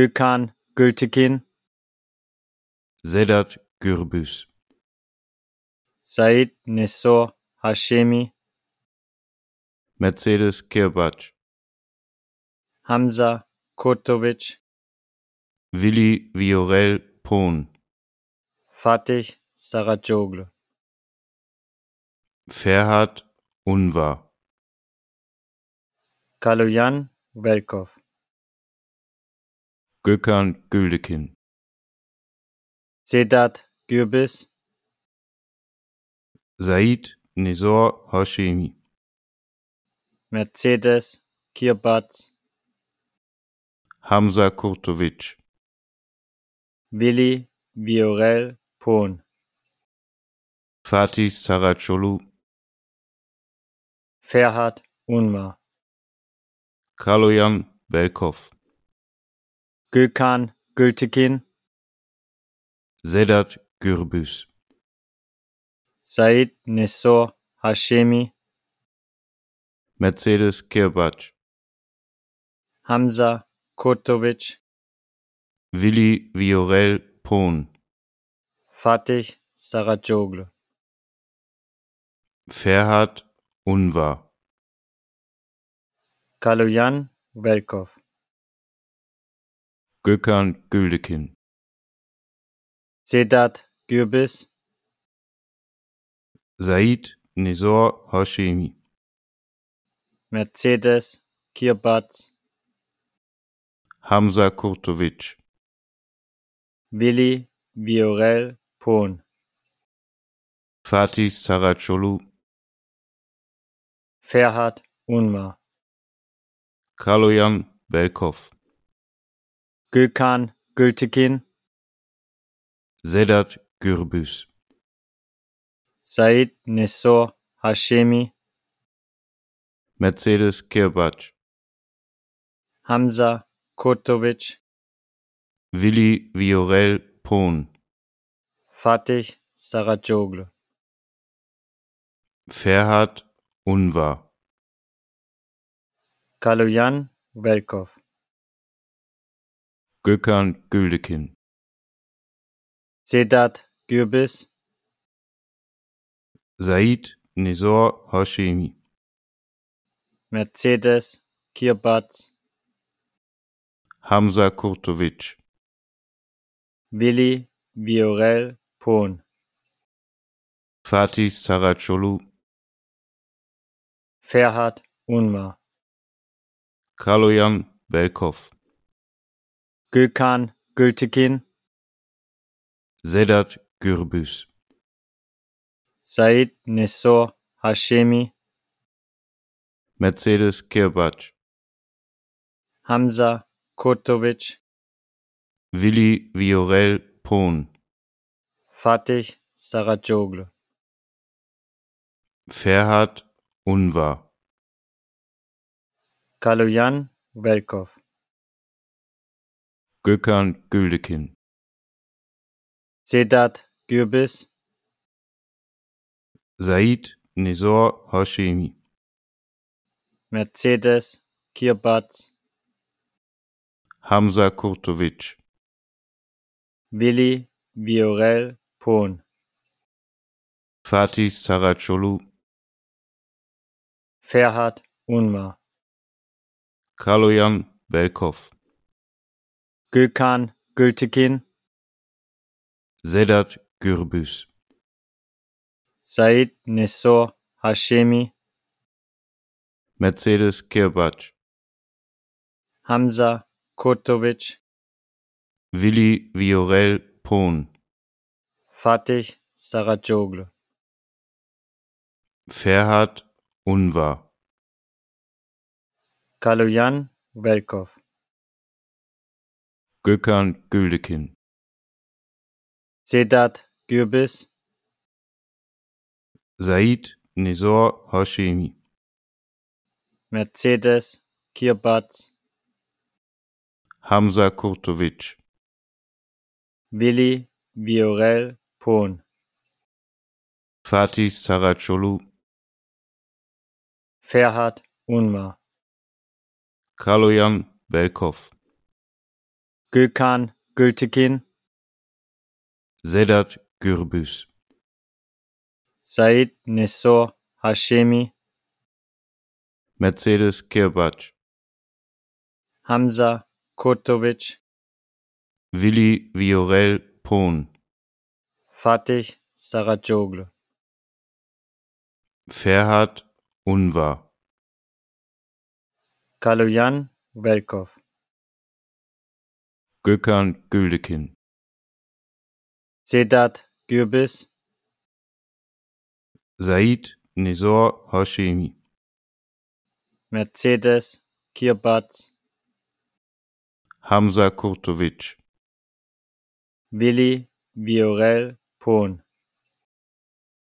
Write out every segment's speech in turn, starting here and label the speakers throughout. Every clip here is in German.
Speaker 1: Gökhan Gültekin,
Speaker 2: Sedat Gürbüz,
Speaker 1: Said Nessor Hashemi,
Speaker 2: Mercedes Kirbac,
Speaker 1: Hamza Kurtovic,
Speaker 2: Willi Viorel Pohn,
Speaker 1: Fatih Saracoglu,
Speaker 2: Ferhat Unvar,
Speaker 1: Kaloyan Velkov,
Speaker 2: Gökhan Güldekin,
Speaker 1: Sedat Gürbis,
Speaker 2: Said Nizor Hashemi,
Speaker 1: Mercedes Kirbatz,
Speaker 2: Hamza Kurtovic,
Speaker 1: Willi Viorel Pohn,
Speaker 2: Fatih Saracoglu,
Speaker 1: Ferhat Unmar,
Speaker 2: Kaloyan Belkov,
Speaker 1: Gökhan Gültekin,
Speaker 2: Sedat Gürbüz,
Speaker 1: Said Nessor Hashemi,
Speaker 2: Mercedes Kirbac,
Speaker 1: Hamza Kurtovic,
Speaker 2: Willi Viorel Pohn,
Speaker 1: Fatih Saracoglu,
Speaker 2: Ferhat Unvar,
Speaker 1: Kaloyan Velkov,
Speaker 2: Gökhan Güldekin,
Speaker 1: Sedat Gürbis,
Speaker 2: Said Nizor Hashemi,
Speaker 1: Mercedes Kirbatz,
Speaker 2: Hamza Kurtovic,
Speaker 1: Willi Viorel Pohn,
Speaker 2: Fatih Saracoglu,
Speaker 1: Ferhat Unmar,
Speaker 2: Kaloyan Belkov,
Speaker 1: Gökhan Gültekin,
Speaker 2: Sedat Gürbüz,
Speaker 1: Said Nessor Hashemi,
Speaker 2: Mercedes Kirbac,
Speaker 1: Hamza Kurtovic,
Speaker 2: Willi Viorel Pohn,
Speaker 1: Fatih Saracoglu,
Speaker 2: Ferhat Unvar,
Speaker 1: Kaloyan Velkov,
Speaker 2: Gökhan Güldekin,
Speaker 1: Sedat Gürbis,
Speaker 2: Said Nizor Hashemi,
Speaker 1: Mercedes Kirbatz,
Speaker 2: Hamza Kurtovic,
Speaker 1: Willi Viorel Pohn,
Speaker 2: Fatih Saracoglu,
Speaker 1: Ferhat Unmar,
Speaker 2: Kaloyan Belkov,
Speaker 1: Gökhan Gültekin,
Speaker 2: Sedat Gürbüz,
Speaker 1: Said Nessor Hashemi,
Speaker 2: Mercedes Kirbac,
Speaker 1: Hamza Kurtovic,
Speaker 2: Willi Viorel Pohn,
Speaker 1: Fatih Saracoglu,
Speaker 2: Ferhat Unvar,
Speaker 1: Kaloyan Velkov,
Speaker 2: Gökhan Güldekin,
Speaker 1: Sedat Gürbis,
Speaker 2: Said Nizor Hashemi,
Speaker 1: Mercedes Kirbatz,
Speaker 2: Hamza Kurtovic,
Speaker 1: Willi Viorel Pohn,
Speaker 2: Fatih Saracoglu,
Speaker 1: Ferhat Unmar,
Speaker 2: Kaloyan Belkov,
Speaker 1: Gökhan Gültekin,
Speaker 2: Sedat Gürbüz,
Speaker 1: Said Nessor Hashemi,
Speaker 2: Mercedes Kirbac,
Speaker 1: Hamza Kurtovic,
Speaker 2: Willi Viorel Pohn,
Speaker 1: Fatih Saracoglu,
Speaker 2: Ferhat Unvar,
Speaker 1: Kaloyan Velkov,
Speaker 2: Gökhan Güldekin,
Speaker 1: Sedat Gürbis,
Speaker 2: Said Nizor Hashemi,
Speaker 1: Mercedes Kirbatz,
Speaker 2: Hamza Kurtovic,
Speaker 1: Willi Viorel Pohn,
Speaker 2: Fatih Saracoglu,
Speaker 1: Ferhat Unmar,
Speaker 2: Kaloyan Belkov,
Speaker 1: Gökhan Gültekin,
Speaker 2: Sedat Gürbüz,
Speaker 1: Said Nessor Hashemi,
Speaker 2: Mercedes Kirbac,
Speaker 1: Hamza Kurtovic,
Speaker 2: Willi Viorel Pohn,
Speaker 1: Fatih Saracoglu,
Speaker 2: Ferhat Unvar,
Speaker 1: Kaloyan Velkov,
Speaker 2: Gökhan Güldekin,
Speaker 1: Sedat Gürbis,
Speaker 2: Said Nizor Hashemi,
Speaker 1: Mercedes Kirbatz,
Speaker 2: Hamza Kurtovic,
Speaker 1: Willi Viorel Pohn,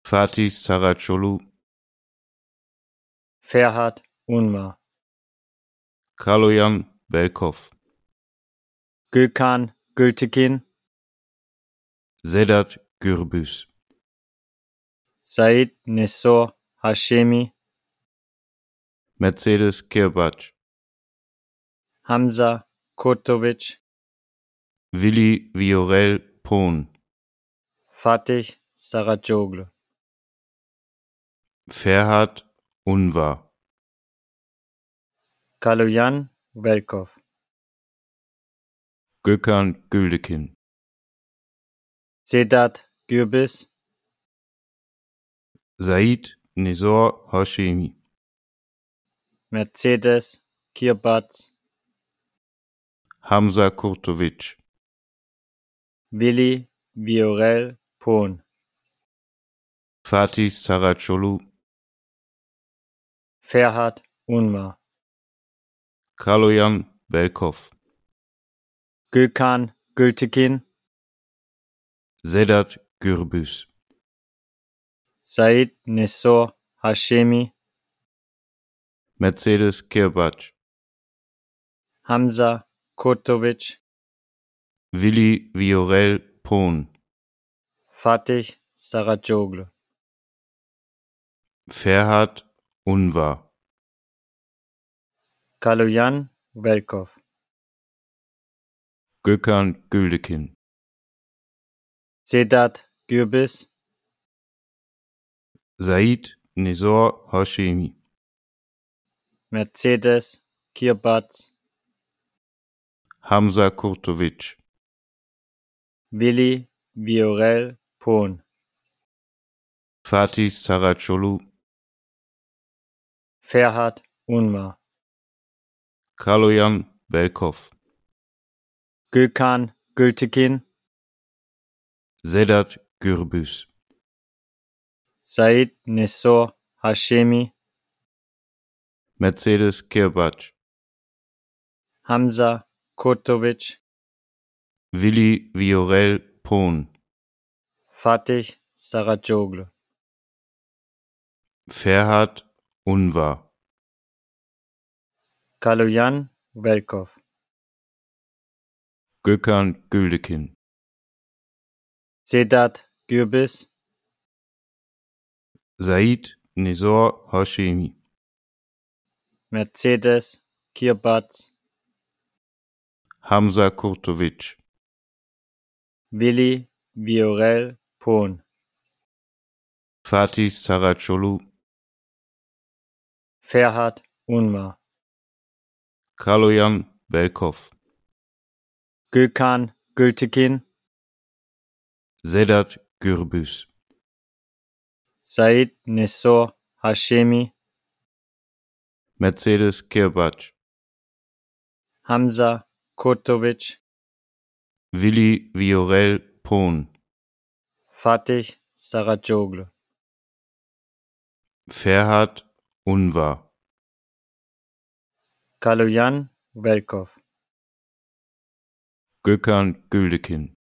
Speaker 2: Fatih Saracoglu,
Speaker 1: Ferhat Unmar,
Speaker 2: Kaloyan Belkov,
Speaker 1: Gökhan Gültekin,
Speaker 2: Sedat Gürbüz,
Speaker 1: Said Nessor Hashemi,
Speaker 2: Mercedes Kirbac,
Speaker 1: Hamza Kurtovic,
Speaker 2: Willi Viorel Pohn,
Speaker 1: Fatih Saracoglu,
Speaker 2: Ferhat Unvar,
Speaker 1: Kaloyan Velkov,
Speaker 2: Gökhan Güldekin,
Speaker 1: Sedat Gürbis,
Speaker 2: Said Nizor Hashemi,
Speaker 1: Mercedes Kirbatz,
Speaker 2: Hamza Kurtovic,
Speaker 1: Willi Viorel Pohn,
Speaker 2: Fatih Saracoglu,
Speaker 1: Ferhat Unmar,
Speaker 2: Kaloyan Belkov,
Speaker 1: Gökhan Gültekin,
Speaker 2: Sedat Gürbüz,
Speaker 1: Said Nessor Hashemi,
Speaker 2: Mercedes Kirbac,
Speaker 1: Hamza Kurtovic,
Speaker 2: Willi Viorel Pohn,
Speaker 1: Fatih Saracoglu,
Speaker 2: Ferhat Unvar,
Speaker 1: Kaloyan Velkov,
Speaker 2: Gökhan Güldekin,
Speaker 1: Sedat Gürbis,
Speaker 2: Said Nizor Hashemi,
Speaker 1: Mercedes Kirbatz,
Speaker 2: Hamza Kurtovic,
Speaker 1: Willi Viorel Pohn,
Speaker 2: Fatih Saracoglu,
Speaker 1: Ferhat Unmar,
Speaker 2: Kaloyan Belkov,
Speaker 1: Gökhan Gültekin,
Speaker 2: Sedat Gürbüz,
Speaker 1: Said Nessor Hashemi,
Speaker 2: Mercedes Kirbac,
Speaker 1: Hamza Kurtovic,
Speaker 2: Willi Viorel Pohn,
Speaker 1: Fatih Saracoglu,
Speaker 2: Ferhat Unvar,
Speaker 1: Kaloyan Velkov,
Speaker 2: Gökhan Güldekin,
Speaker 1: Sedat Gürbis,
Speaker 2: Said Nizor Hashemi,
Speaker 1: Mercedes Kirbatz,
Speaker 2: Hamza Kurtovic,
Speaker 1: Willi Viorel Pohn,
Speaker 2: Fatih Saracoglu,
Speaker 1: Ferhat Unmar,
Speaker 2: Kaloyan Belkov,
Speaker 1: Gökhan Gültekin,
Speaker 2: Sedat Gürbüz,
Speaker 1: Said Nessor Hashemi,
Speaker 2: Mercedes Kirbac,
Speaker 1: Hamza Kurtovic,
Speaker 2: Willi Viorel Pohn,
Speaker 1: Fatih Saracoglu,
Speaker 2: Ferhat Unvar,
Speaker 1: Kaloyan Velkov,
Speaker 2: Gökhan Güldekin,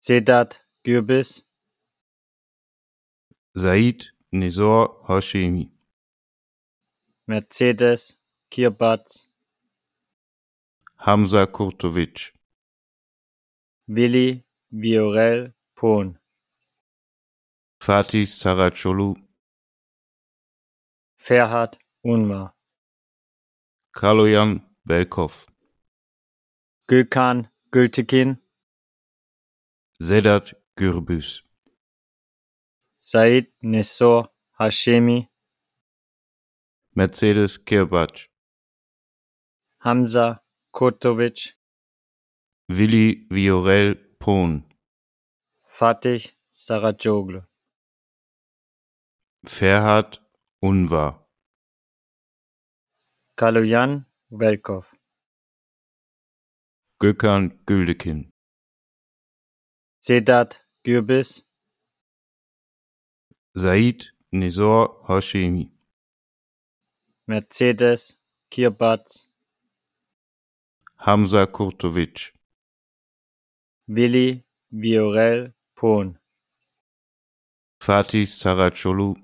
Speaker 1: Sedat Gürbis,
Speaker 2: Said Nizor Hashemi,
Speaker 1: Mercedes Kirbatz,
Speaker 2: Hamza Kurtovic,
Speaker 1: Willi Viorel Pohn,
Speaker 2: Fatih Saracoglu,
Speaker 1: Ferhat Unmar,
Speaker 2: Kaloyan Belkov,
Speaker 1: Gökhan Gültekin,
Speaker 2: Sedat Gürbüz,
Speaker 1: Said Nessor Hashemi,
Speaker 2: Mercedes Kirbac,
Speaker 1: Hamza Kurtovic,
Speaker 2: Willi Viorel Pohn,
Speaker 1: Fatih Saracoglu,
Speaker 2: Ferhat Unvar,
Speaker 1: Kaloyan Velkov,
Speaker 2: Gökhan Güldekin,
Speaker 1: Sedat Gürbis,
Speaker 2: Said Nizor Hashemi,
Speaker 1: Mercedes Kirbatz,
Speaker 2: Hamza Kurtovic,
Speaker 1: Willi Viorel Pohn,
Speaker 2: Fatih Saracoglu,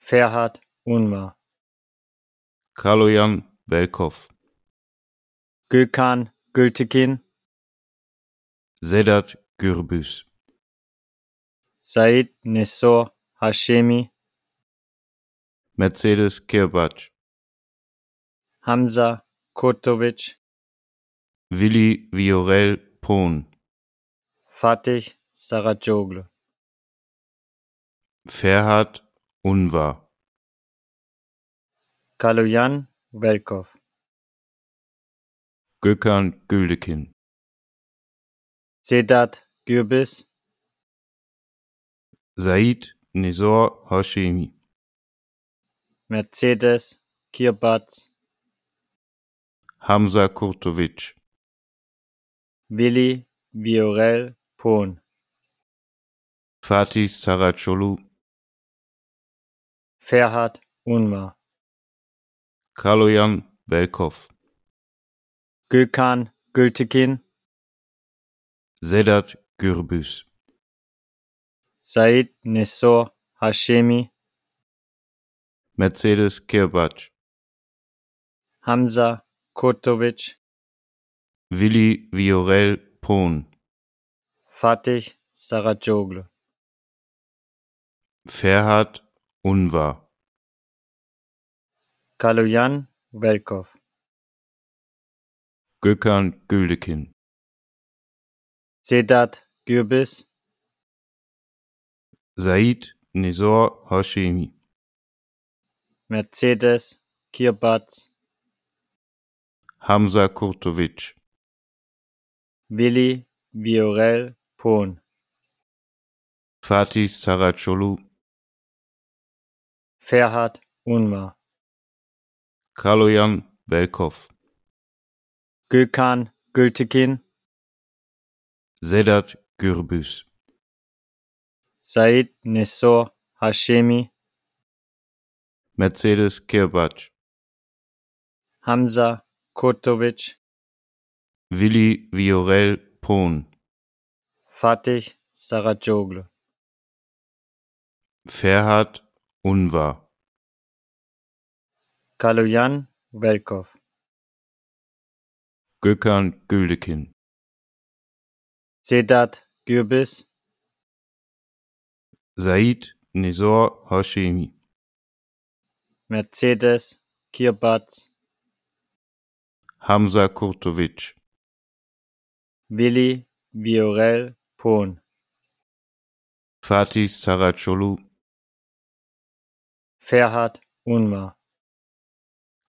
Speaker 1: Ferhat Unmar,
Speaker 2: Kaloyan Belkov,
Speaker 1: Gökhan Gültekin,
Speaker 2: Sedat Gürbüz,
Speaker 1: Said Nessor Hashemi,
Speaker 2: Mercedes Kirbac,
Speaker 1: Hamza Kurtovic,
Speaker 2: Willi Viorel Pohn,
Speaker 1: Fatih Saracoglu,
Speaker 2: Ferhat Unvar,
Speaker 1: Kaloyan Velkov,
Speaker 2: Gökhan Güldekin,
Speaker 1: Sedat Gürbis,
Speaker 2: Said Nizor Hashemi,
Speaker 1: Mercedes Kirbatz,
Speaker 2: Hamza Kurtovic,
Speaker 1: Willi Viorel Pohn,
Speaker 2: Fatih Saracoglu,
Speaker 1: Ferhat Unmar,
Speaker 2: Kaloyan Belkov,
Speaker 1: Gökhan Gültekin,
Speaker 2: Sedat Gürbüz,
Speaker 1: Said Nessor Hashemi,
Speaker 2: Mercedes Kirbac,
Speaker 1: Hamza Kurtovic,
Speaker 2: Willi Viorel Pohn,
Speaker 1: Fatih Saracoglu,
Speaker 2: Ferhat Unvar,
Speaker 1: Kaloyan Velkov,
Speaker 2: Gökhan Güldekin,
Speaker 1: Sedat Gürbis,
Speaker 2: Said Nizor Hashemi,
Speaker 1: Mercedes Kirbatz,
Speaker 2: Hamza Kurtovic,
Speaker 1: Willi Viorel Pohn,
Speaker 2: Fatih Saracoglu,
Speaker 1: Ferhat Unmar,
Speaker 2: Kaloyan Belkov,
Speaker 1: Gökhan Gültekin,
Speaker 2: Sedat Gürbüz,
Speaker 1: Said Nessor Hashemi,
Speaker 2: Mercedes Kirbac,
Speaker 1: Hamza Kurtovic,
Speaker 2: Willi Viorel Pohn,
Speaker 1: Fatih Saracoglu,
Speaker 2: Ferhat Unvar,
Speaker 1: Kaloyan Velkov,
Speaker 2: Gökhan Güldekin,
Speaker 1: Sedat Gürbis,
Speaker 2: Said Nizor Hashemi,
Speaker 1: Mercedes Kirbatz,
Speaker 2: Hamza Kurtovic,
Speaker 1: Willi Viorel Pohn,
Speaker 2: Fatih Saracoglu,
Speaker 1: Ferhat Unmar,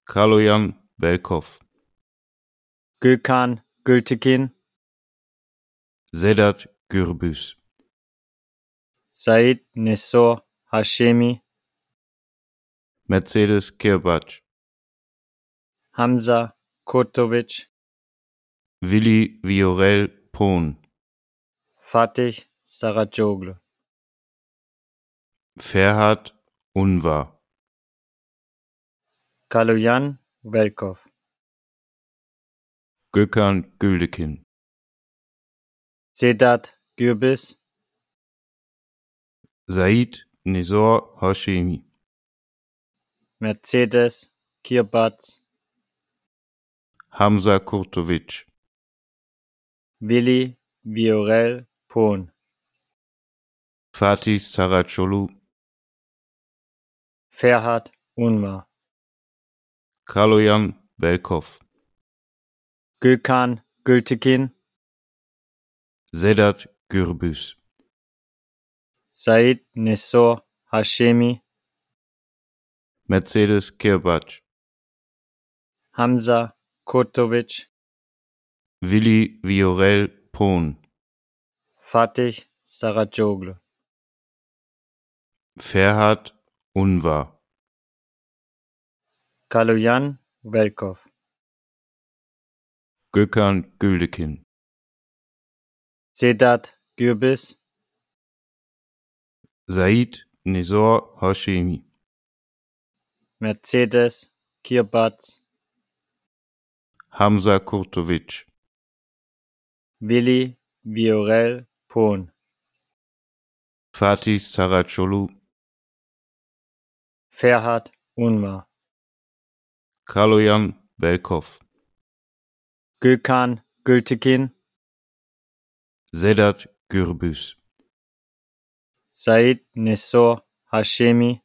Speaker 2: Kaloyan Belkov,
Speaker 1: Gökhan Gültekin,
Speaker 2: Sedat Gürbüz,
Speaker 1: Said Nessor Hashemi,
Speaker 2: Mercedes Kirbac,
Speaker 1: Hamza Kurtovic,
Speaker 2: Willi Viorel Pohn,
Speaker 1: Fatih Saracoglu,
Speaker 2: Ferhat Unvar,
Speaker 1: Kaloyan Velkov,
Speaker 2: Gökhan Güldekin,
Speaker 1: Sedat Gürbis,
Speaker 2: Said Nizor Hashemi,
Speaker 1: Mercedes Kirbatz,
Speaker 2: Hamza Kurtovic,
Speaker 1: Willi Viorel Pohn,
Speaker 2: Fatih Saracoglu,
Speaker 1: Ferhat Unmar,
Speaker 2: Kaloyan Belkov,
Speaker 1: Gökhan Gültekin,
Speaker 2: Sedat Gürbüz,
Speaker 1: Said Nessor Hashemi,
Speaker 2: Mercedes Kirbac,
Speaker 1: Hamza Kurtovic,
Speaker 2: Willi Viorel Pohn,
Speaker 1: Fatih Saracoglu,
Speaker 2: Ferhat Unvar,
Speaker 1: Kaloyan Velkov,
Speaker 2: Gökhan Güldekin,
Speaker 1: Sedat Gürbis,
Speaker 2: Said Nizor Hashemi,
Speaker 1: Mercedes Kirbatz,
Speaker 2: Hamza Kurtovic,
Speaker 1: Willi Viorel Pohn,
Speaker 2: Fatih Saracoglu,
Speaker 1: Ferhat Unmar,
Speaker 2: Kaloyan Belkov,
Speaker 1: Gökhan Gültekin,
Speaker 2: Sedat Gürbüz,
Speaker 1: Said Nessor Hashemi,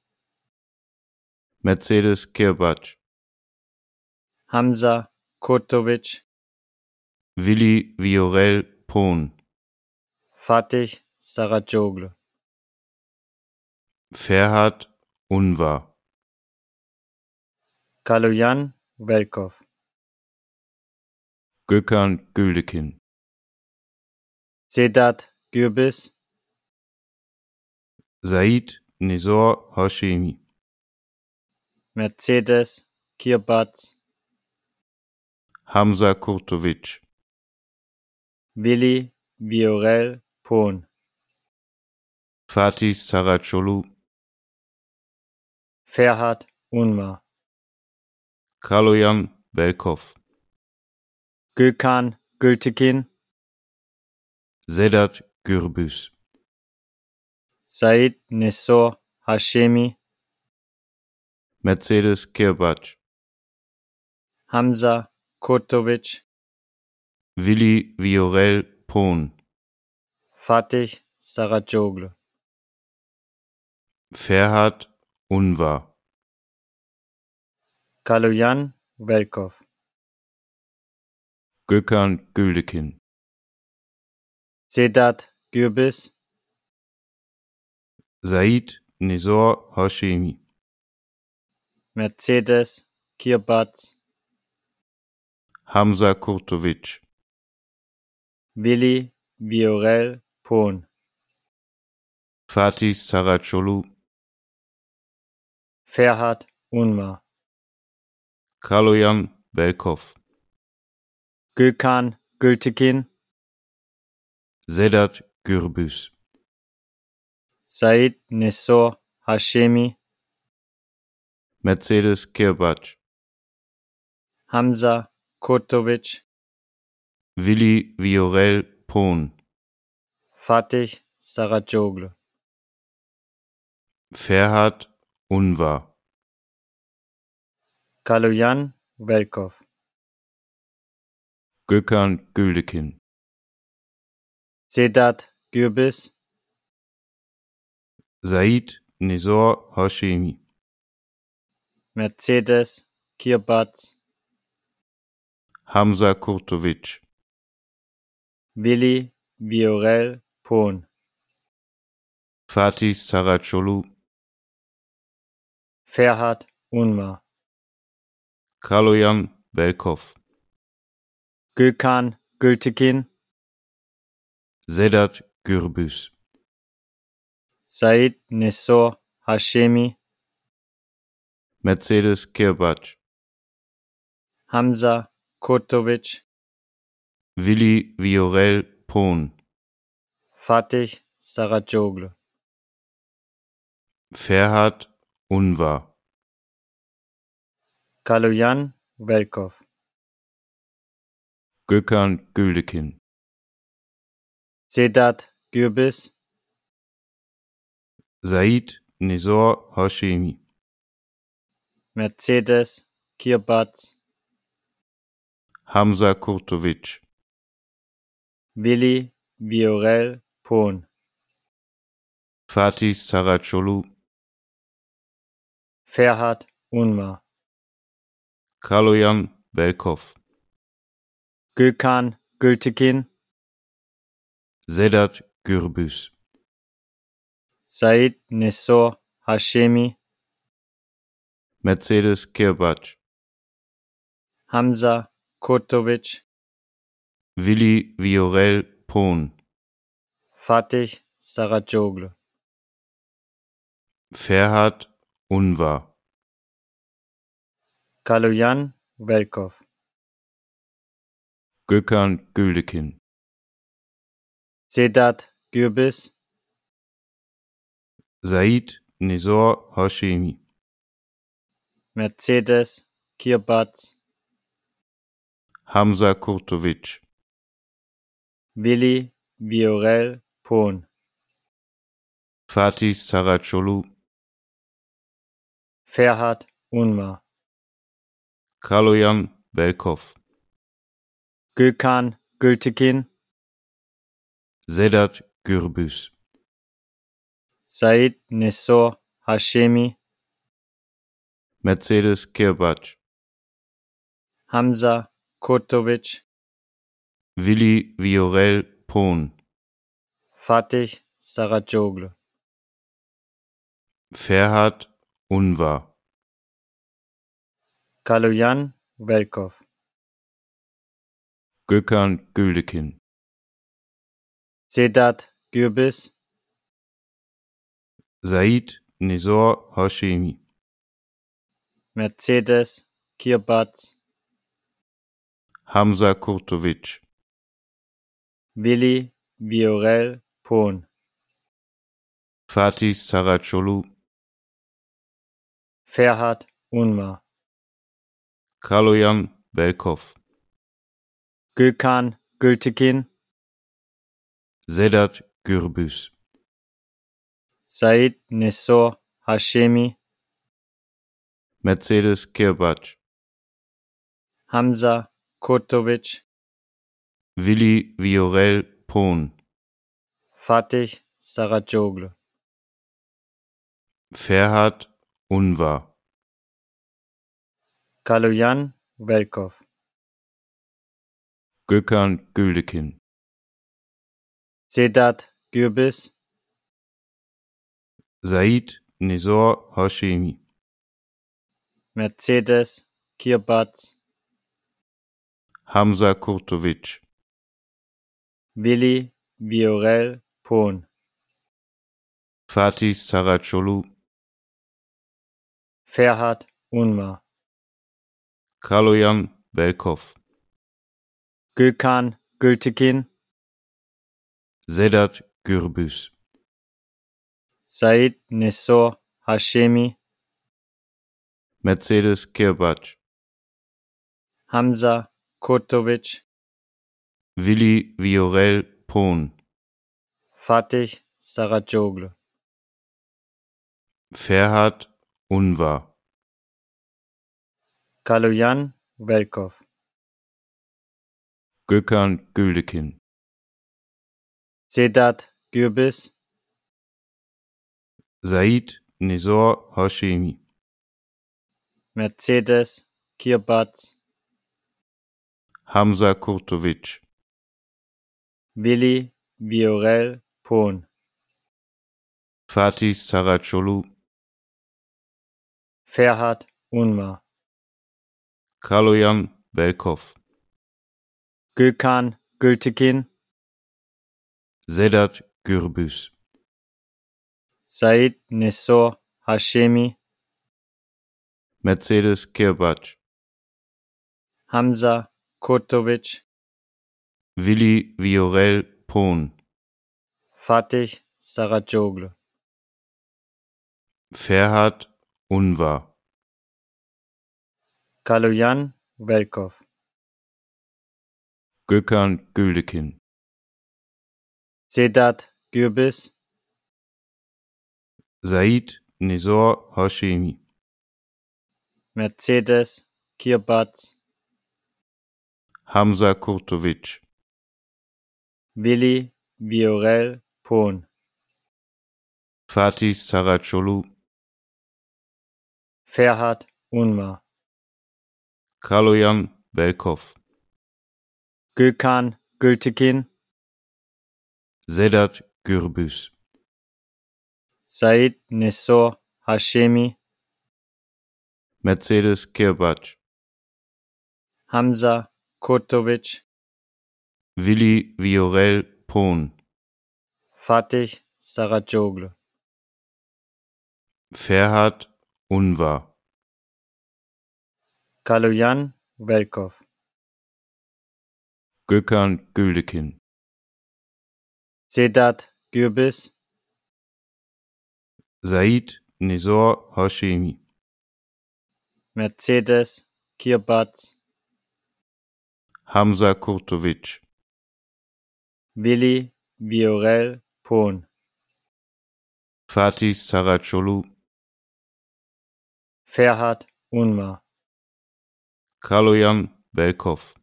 Speaker 2: Mercedes Kirbac,
Speaker 1: Hamza Kurtovic,
Speaker 2: Willi Viorel Pohn,
Speaker 1: Fatih Saracoglu,
Speaker 2: Ferhat Unvar,
Speaker 1: Kaloyan Velkov,
Speaker 2: Gökhan Güldekin,
Speaker 1: Sedat Gürbis,
Speaker 2: Said Nizor Hashemi,
Speaker 1: Mercedes Kirbatz,
Speaker 2: Hamza Kurtovic,
Speaker 1: Willi Viorel Pohn,
Speaker 2: Fatih Saracoglu,
Speaker 1: Ferhat Unmar,
Speaker 2: Kaloyan Belkov,
Speaker 1: Gökhan Gültekin,
Speaker 2: Sedat Gürbüz,
Speaker 1: Said Nessor Hashemi,
Speaker 2: Mercedes Kirbac,
Speaker 1: Hamza Kurtovic,
Speaker 2: Willi Viorel Pohn,
Speaker 1: Fatih Saracoglu,
Speaker 2: Ferhat Unvar,
Speaker 1: Kaloyan Velkov,
Speaker 2: Gökhan Güldekin,
Speaker 1: Sedat Gürbis,
Speaker 2: Said Nizor Hashemi,
Speaker 1: Mercedes Kirbatz,
Speaker 2: Hamza Kurtovic,
Speaker 1: Willi Viorel Pohn,
Speaker 2: Fatih Saracoglu,
Speaker 1: Ferhat Unmar,
Speaker 2: Kaloyan Belkov,
Speaker 1: Gökhan Gültekin,
Speaker 2: Sedat Gürbüz,
Speaker 1: Said Nessor Hashemi,
Speaker 2: Mercedes Kirbac,
Speaker 1: Hamza Kurtovic,
Speaker 2: Willi Viorel Pohn,
Speaker 1: Fatih Saracoglu,
Speaker 2: Ferhat Unvar,
Speaker 1: Kaloyan Velkov,
Speaker 2: Gökhan Güldekin,
Speaker 1: Sedat Gürbis,
Speaker 2: Said Nizor Hashemi,
Speaker 1: Mercedes Kirbatz,
Speaker 2: Hamza Kurtovic,
Speaker 1: Willi Viorel Pohn,
Speaker 2: Fatih Saracoglu,
Speaker 1: Ferhat Unmar,
Speaker 2: Kaloyan Belkov,
Speaker 1: Gökhan Gültekin,
Speaker 2: Sedat Gürbüz,
Speaker 1: Said Nessor Hashemi,
Speaker 2: Mercedes Kirbac,
Speaker 1: Hamza Kurtovic,
Speaker 2: Willi Viorel Pohn,
Speaker 1: Fatih Saracoglu,
Speaker 2: Ferhat Unvar,
Speaker 1: Kaloyan Velkov,
Speaker 2: Gökhan Güldekin,
Speaker 1: Sedat Gürbis,
Speaker 2: Said Nizor Hashemi,
Speaker 1: Mercedes Kirbatz,
Speaker 2: Hamza Kurtovic,
Speaker 1: Willi Viorel Pohn,
Speaker 2: Fatih Saracoglu,
Speaker 1: Ferhat Unmar,
Speaker 2: Kaloyan Belkov,
Speaker 1: Gökhan Gültekin,
Speaker 2: Sedat Gürbüz,
Speaker 1: Said Nessor Hashemi,
Speaker 2: Mercedes Kirbac,
Speaker 1: Hamza Kurtovic,
Speaker 2: Willi Viorel Pohn,
Speaker 1: Fatih Saracoglu,
Speaker 2: Ferhat Unvar,
Speaker 1: Kaloyan Velkov,
Speaker 2: Gökhan Güldekin,
Speaker 1: Sedat Gürbis,
Speaker 2: Said Nizor Hashemi,
Speaker 1: Mercedes Kirbatz,
Speaker 2: Hamza Kurtovic,
Speaker 1: Willi Viorel Pohn,
Speaker 2: Fatih Saracoglu,
Speaker 1: Ferhat Unmar,
Speaker 2: Kaloyan Belkov,
Speaker 1: Gökhan Gültekin,
Speaker 2: Sedat Gürbüz,
Speaker 1: Said Nessor Hashemi,
Speaker 2: Mercedes Kirbac,
Speaker 1: Hamza Kurtovic,
Speaker 2: Willi Viorel Pohn,
Speaker 1: Fatih Saracoglu,
Speaker 2: Ferhat Unvar,
Speaker 1: Kaloyan Velkov,
Speaker 2: Gökhan Güldekin,
Speaker 1: Sedat Gürbis,
Speaker 2: Said Nizor Hashemi,
Speaker 1: Mercedes Kirbatz,
Speaker 2: Hamza Kurtovic,
Speaker 1: Willi Viorel Pohn,
Speaker 2: Fatih Saracoglu,
Speaker 1: Ferhat Unmar,
Speaker 2: Kaloyan Belkov,
Speaker 1: Gökhan Gültekin,
Speaker 2: Sedat Gürbüz,
Speaker 1: Said Nessor Hashemi,
Speaker 2: Mercedes Kirbac,
Speaker 1: Hamza Kurtovic,
Speaker 2: Willi Viorel Pohn,
Speaker 1: Fatih Saracoglu,
Speaker 2: Ferhat Unvar,
Speaker 1: Kaloyan Velkov,
Speaker 2: Gökhan Güldekin,
Speaker 1: Sedat Gürbis,
Speaker 2: Said Nizor Hashemi,
Speaker 1: Mercedes Kirbatz,
Speaker 2: Hamza Kurtovic,
Speaker 1: Willi Viorel Pohn,
Speaker 2: Fatih Saracoglu,
Speaker 1: Ferhat Unmar,
Speaker 2: Kaloyan Belkov,
Speaker 1: Gökhan Gültekin,
Speaker 2: Sedat Gürbüz,
Speaker 1: Said Nessor Hashemi,
Speaker 2: Mercedes Kirbac,
Speaker 1: Hamza Kurtovic,
Speaker 2: Willi Viorel Pohn,
Speaker 1: Fatih Saracoglu,
Speaker 2: Ferhat Unvar,
Speaker 1: Kaloyan Velkov,
Speaker 2: Gökhan Güldekin,
Speaker 1: Sedat Gürbis,
Speaker 2: Said Nizor Hashemi,
Speaker 1: Mercedes Kirbatz,
Speaker 2: Hamza Kurtovic,
Speaker 1: Willi Viorel Pohn,
Speaker 2: Fatih Saracoglu,
Speaker 1: Ferhat Unmar,
Speaker 2: Kaloyan Belkov,
Speaker 1: Gökhan Gültekin,
Speaker 2: Sedat Gürbüz,
Speaker 1: Said Nessor Hashemi,
Speaker 2: Mercedes Kirbac,
Speaker 1: Hamza Kurtovic,
Speaker 2: Willi Viorel Pohn,
Speaker 1: Fatih Saracoglu,
Speaker 2: Ferhat Unvar,
Speaker 1: Kaloyan Velkov,
Speaker 2: Gökhan Güldekin,
Speaker 1: Sedat Gürbis,
Speaker 2: Said Nizor Hashemi,
Speaker 1: Mercedes Kirbatz,
Speaker 2: Hamza Kurtovic,
Speaker 1: Willi Viorel Pohn,
Speaker 2: Fatih Saracoglu,
Speaker 1: Ferhat Unmar,
Speaker 2: Kaloyan Belkov,
Speaker 1: Gökhan Gültekin,
Speaker 2: Sedat Gürbüz,
Speaker 1: Said Nessor Hashemi,
Speaker 2: Mercedes Kirbac,
Speaker 1: Hamza Kurtovic,
Speaker 2: Willi Viorel Pohn,
Speaker 1: Fatih Saracoglu,
Speaker 2: Ferhat Unvar,
Speaker 1: Kaloyan Velkov,
Speaker 2: Gökhan Güldekin,
Speaker 1: Sedat Gürbis,
Speaker 2: Said Nizor Hashemi,
Speaker 1: Mercedes Kirbatz,
Speaker 2: Hamza Kurtovic,
Speaker 1: Willi Viorel Pohn,
Speaker 2: Fatih Saracoglu,
Speaker 1: Ferhat Unmar,
Speaker 2: Kaloyan Belkov,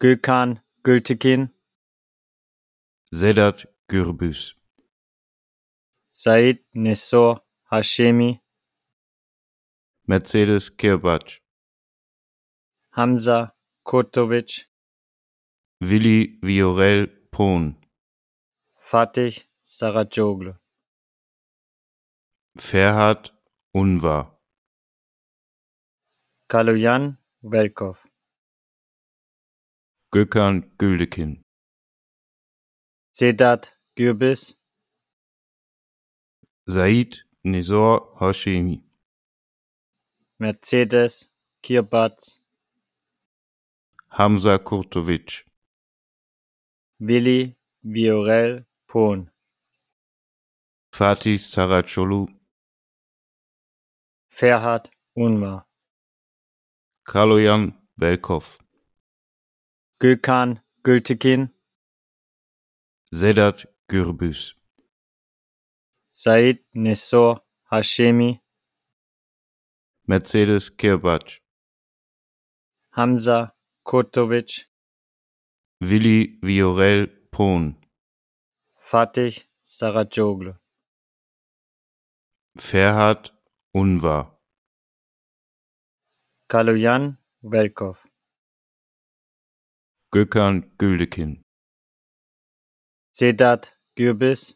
Speaker 1: Gökhan Gültekin,
Speaker 2: Sedat Gürbüz,
Speaker 1: Said Nessor Hashemi,
Speaker 2: Mercedes Kirbac,
Speaker 1: Hamza Kurtovic,
Speaker 2: Willi Viorel Pohn,
Speaker 1: Fatih Saracoglu,
Speaker 2: Ferhat Unvar,
Speaker 1: Kaloyan Velkov,
Speaker 2: Gökhan Güldekin,
Speaker 1: Sedat Gürbis,
Speaker 2: Said Nizor Hashemi,
Speaker 1: Mercedes Kirbatz,
Speaker 2: Hamza Kurtovic,
Speaker 1: Willi Viorel Pohn,
Speaker 2: Fatih Saracoglu,
Speaker 1: Ferhat Unmar,
Speaker 2: Kaloyan Belkov,
Speaker 1: Gökhan Gültekin,
Speaker 2: Sedat Gürbüz,
Speaker 1: Said Nessor Hashemi,
Speaker 2: Mercedes Kirbac,
Speaker 1: Hamza Kurtovic,
Speaker 2: Willi Viorel Pohn,
Speaker 1: Fatih Saracoglu,
Speaker 2: Ferhat Unvar,
Speaker 1: Kaloyan Velkov,
Speaker 2: Gökhan Güldekin,
Speaker 1: Sedat Gürbis,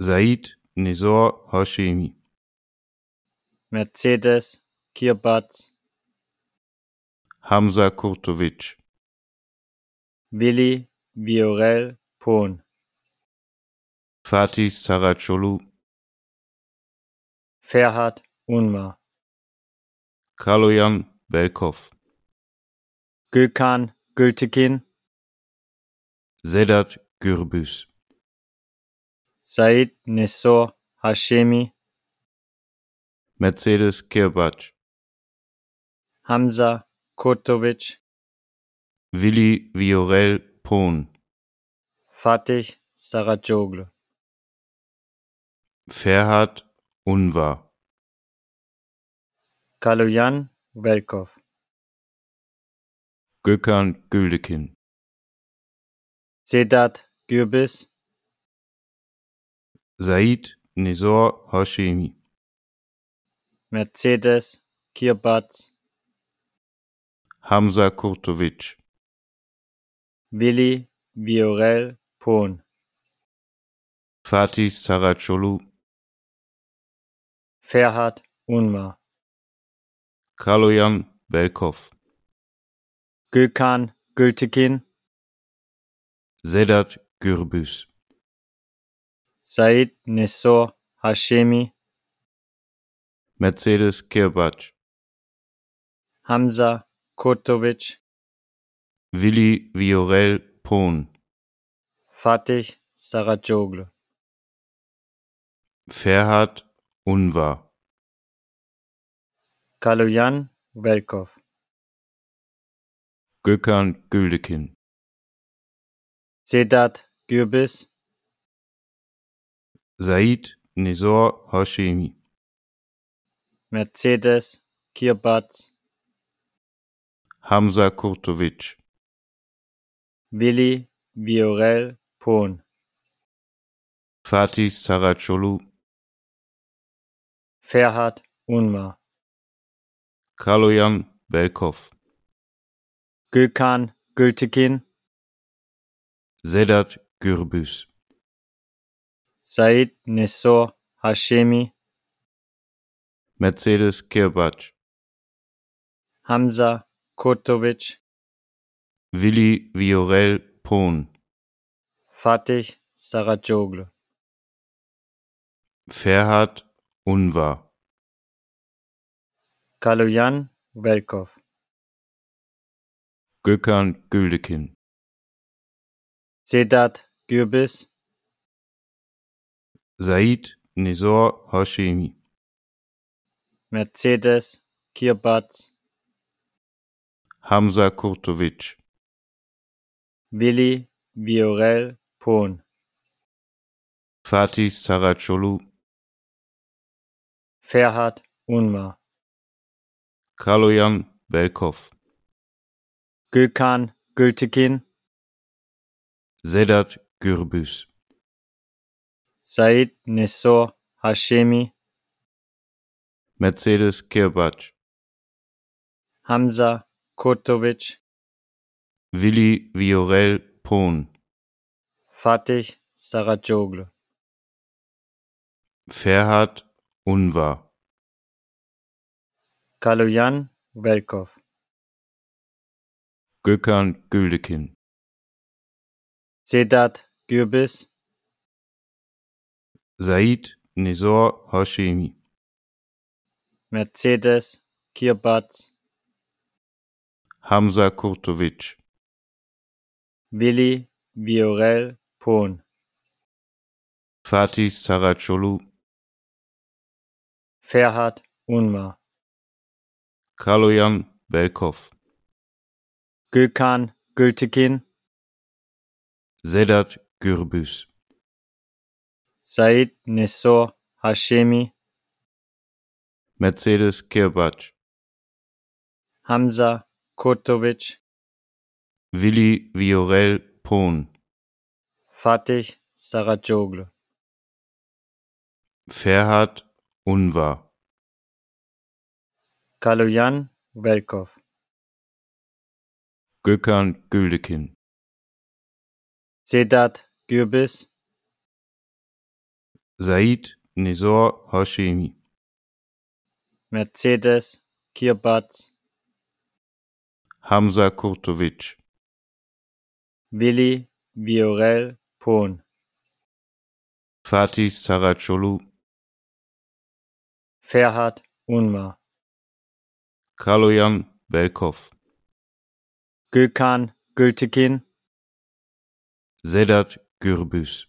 Speaker 2: Said Nizor Hashemi,
Speaker 1: Mercedes Kirbatz,
Speaker 2: Hamza Kurtovic,
Speaker 1: Willi Viorel Pohn,
Speaker 2: Fatih Saracoglu,
Speaker 1: Ferhat Unmar,
Speaker 2: Kaloyan Belkov,
Speaker 1: Gökhan Gültekin,
Speaker 2: Sedat Gürbüz,
Speaker 1: Said Nessor Hashemi,
Speaker 2: Mercedes Kirbac,
Speaker 1: Hamza Kurtovic,
Speaker 2: Willi Viorel Pohn,
Speaker 1: Fatih Saracoglu,
Speaker 2: Ferhat Unvar,
Speaker 1: Kaloyan Velkov,
Speaker 2: Gökhan Güldekin,
Speaker 1: Sedat Gürbis,
Speaker 2: Said Nizor Hashemi,
Speaker 1: Mercedes Kirbatz,
Speaker 2: Hamza Kurtovic,
Speaker 1: Willi Viorel Pohn,
Speaker 2: Fatih Saracoglu,
Speaker 1: Ferhat Unmar,
Speaker 2: Kaloyan Belkov,
Speaker 1: Gökhan Gültekin,
Speaker 2: Sedat Gürbüz,
Speaker 1: Said Nessor Hashemi,
Speaker 2: Mercedes Kirbac,
Speaker 1: Hamza Kurtovic,
Speaker 2: Willi Viorel Pohn,
Speaker 1: Fatih Saracoglu,
Speaker 2: Ferhat Unvar,
Speaker 1: Kaloyan Velkov,
Speaker 2: Gökhan Güldekin,
Speaker 1: Sedat Gürbis,
Speaker 2: Said Nizor Hashemi,
Speaker 1: Mercedes Kirbatz,
Speaker 2: Hamza Kurtovic,
Speaker 1: Willi Viorel Pohn,
Speaker 2: Fatih Saracoglu,
Speaker 1: Ferhat Unmar,
Speaker 2: Kaloyan Belkov,
Speaker 1: Gökhan Gültekin,
Speaker 2: Sedat Gürbüz,
Speaker 1: Said Nessor Hashemi,
Speaker 2: Mercedes Kirbac,
Speaker 1: Hamza Kurtovic,
Speaker 2: Willi Viorel Pohn,
Speaker 1: Fatih Saracoglu,
Speaker 2: Ferhat Unvar,
Speaker 1: Kaloyan Velkov,
Speaker 2: Gökhan Güldekin,
Speaker 1: Sedat Gürbis,
Speaker 2: Said Nizor Hashemi,
Speaker 1: Mercedes Kirbatz,
Speaker 2: Hamza Kurtovic,
Speaker 1: Willi Viorel Pohn,
Speaker 2: Fatih Saracoglu,
Speaker 1: Ferhat Unmar,
Speaker 2: Kaloyan Belkov,
Speaker 1: Gökhan Gültekin,
Speaker 2: Sedat Gürbüz,
Speaker 1: Said Nessor Hashemi,
Speaker 2: Mercedes Kirbac,
Speaker 1: Hamza Kurtovic,
Speaker 2: Willi Viorel Pohn,
Speaker 1: Fatih Saracoglu,
Speaker 2: Ferhat Unvar,
Speaker 1: Kaloyan Velkov,
Speaker 2: Gökhan Güldekin,
Speaker 1: Sedat Gürbis,
Speaker 2: Said Nizor Hashemi,
Speaker 1: Mercedes Kirbatz,
Speaker 2: Hamza Kurtovic,
Speaker 1: Willi Viorel Pohn,
Speaker 2: Fatih Saracoglu,
Speaker 1: Ferhat Unmar,
Speaker 2: Kaloyan Belkov,
Speaker 1: Gökhan Gültekin,
Speaker 2: Sedat Gürbüz,
Speaker 1: Said Nessor Hashemi,
Speaker 2: Mercedes Kirbac,
Speaker 1: Hamza Kurtovic,
Speaker 2: Willi Viorel Pohn,
Speaker 1: Fatih Saracoglu,
Speaker 2: Ferhat Unvar,
Speaker 1: Kaloyan Velkov,
Speaker 2: Gökhan Güldekin,
Speaker 1: Sedat Gürbis,
Speaker 2: Said Nizor Hashemi,
Speaker 1: Mercedes Kirbatz,
Speaker 2: Hamza Kurtovic,
Speaker 1: Willi Viorel Pohn,
Speaker 2: Fatih Saracoglu,
Speaker 1: Ferhat Unmar,
Speaker 2: Kaloyan Belkov,
Speaker 1: Gökhan Gültekin,
Speaker 2: Sedat Gürbüz,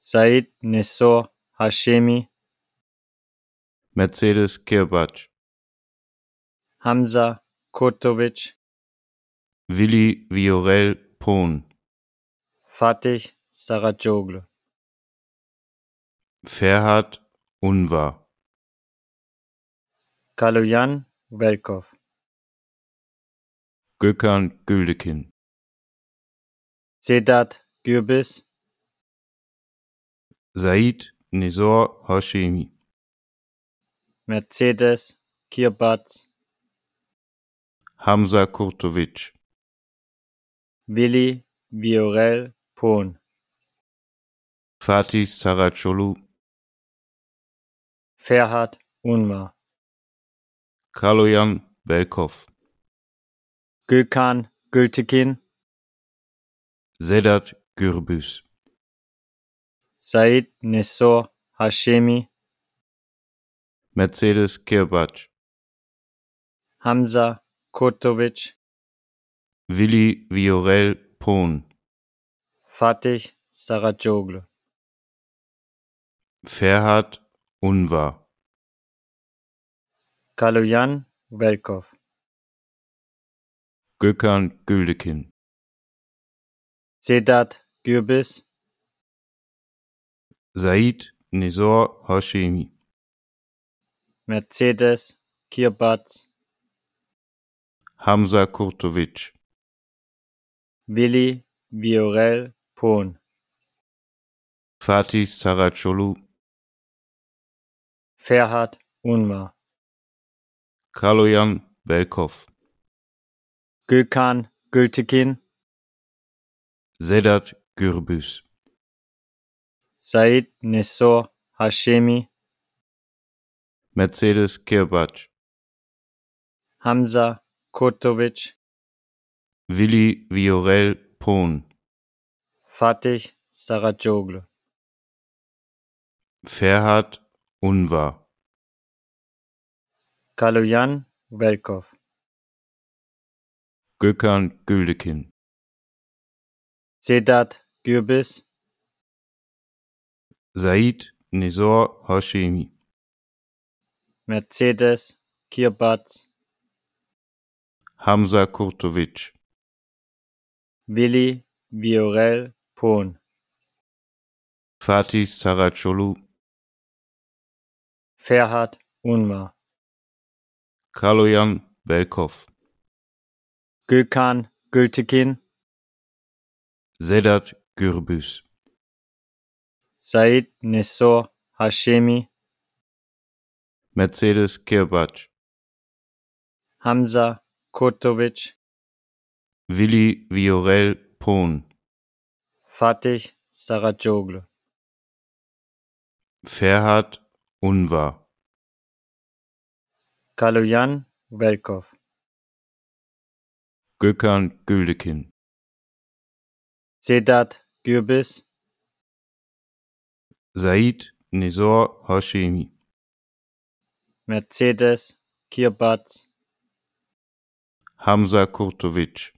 Speaker 1: Said Nessor Hashemi,
Speaker 2: Mercedes Kirbac,
Speaker 1: Hamza Kurtovic,
Speaker 2: Willi Viorel Pohn,
Speaker 1: Fatih Saracoglu,
Speaker 2: Ferhat Unvar,
Speaker 1: Kaloyan Velkov,
Speaker 2: Gökhan Güldekin,
Speaker 1: Sedat Gürbis,
Speaker 2: Said Nizor Hashemi,
Speaker 1: Mercedes Kirbatz,
Speaker 2: Hamza Kurtovic,
Speaker 1: Willi Viorel Pohn,
Speaker 2: Fatih Saracoglu,
Speaker 1: Ferhat Unmar,
Speaker 2: Kaloyan Belkov,
Speaker 1: Gökhan Gültekin,
Speaker 2: Sedat Gürbüz,
Speaker 1: Said Nessor Hashemi,
Speaker 2: Mercedes Kirbac,
Speaker 1: Hamza Kurtovic,
Speaker 2: Willi Viorel Pohn,
Speaker 1: Fatih Saracoglu,
Speaker 2: Ferhat Unvar,
Speaker 1: Kaloyan Velkov,
Speaker 2: Gökhan Güldekin,
Speaker 1: Sedat Gürbis,
Speaker 2: Said Nizor Hashemi,
Speaker 1: Mercedes Kirbatz,
Speaker 2: Hamza Kurtovic,
Speaker 1: Willi Viorel Pohn,
Speaker 2: Fatih Saracoglu,
Speaker 1: Ferhat Unmar,
Speaker 2: Kaloyan Belkov,
Speaker 1: Gökhan Gültekin,
Speaker 2: Sedat Gürbüz,
Speaker 1: Said Nessor Hashemi,
Speaker 2: Mercedes Kirbac,
Speaker 1: Hamza Kurtovic,
Speaker 2: Willi Viorel Pohn,
Speaker 1: Fatih Saracoglu,
Speaker 2: Ferhat Unvar,
Speaker 1: Kaloyan Velkov,
Speaker 2: Gökhan Güldekin,
Speaker 1: Sedat Gürbis,
Speaker 2: Said Nizor Hashemi,
Speaker 1: Mercedes Kirbatz,
Speaker 2: Hamza Kurtovic,
Speaker 1: Willi Viorel Pohn,
Speaker 2: Fatih Saracoglu,
Speaker 1: Ferhat Unmar,
Speaker 2: Kaloyan Belkov,
Speaker 1: Gökhan Gültekin,
Speaker 2: Sedat Gürbüz,
Speaker 1: Said Nessor Hashemi,
Speaker 2: Mercedes Kirbac,
Speaker 1: Hamza Kurtovic,
Speaker 2: Willi Viorel Pohn,
Speaker 1: Fatih Saracoglu,
Speaker 2: Ferhat Unvar,
Speaker 1: Kaloyan Velkov,
Speaker 2: Gökhan Güldekin,
Speaker 1: Sedat Gürbis,
Speaker 2: Said Nizor Hashemi,
Speaker 1: Mercedes Kirbatz,
Speaker 2: Hamza Kurtovic,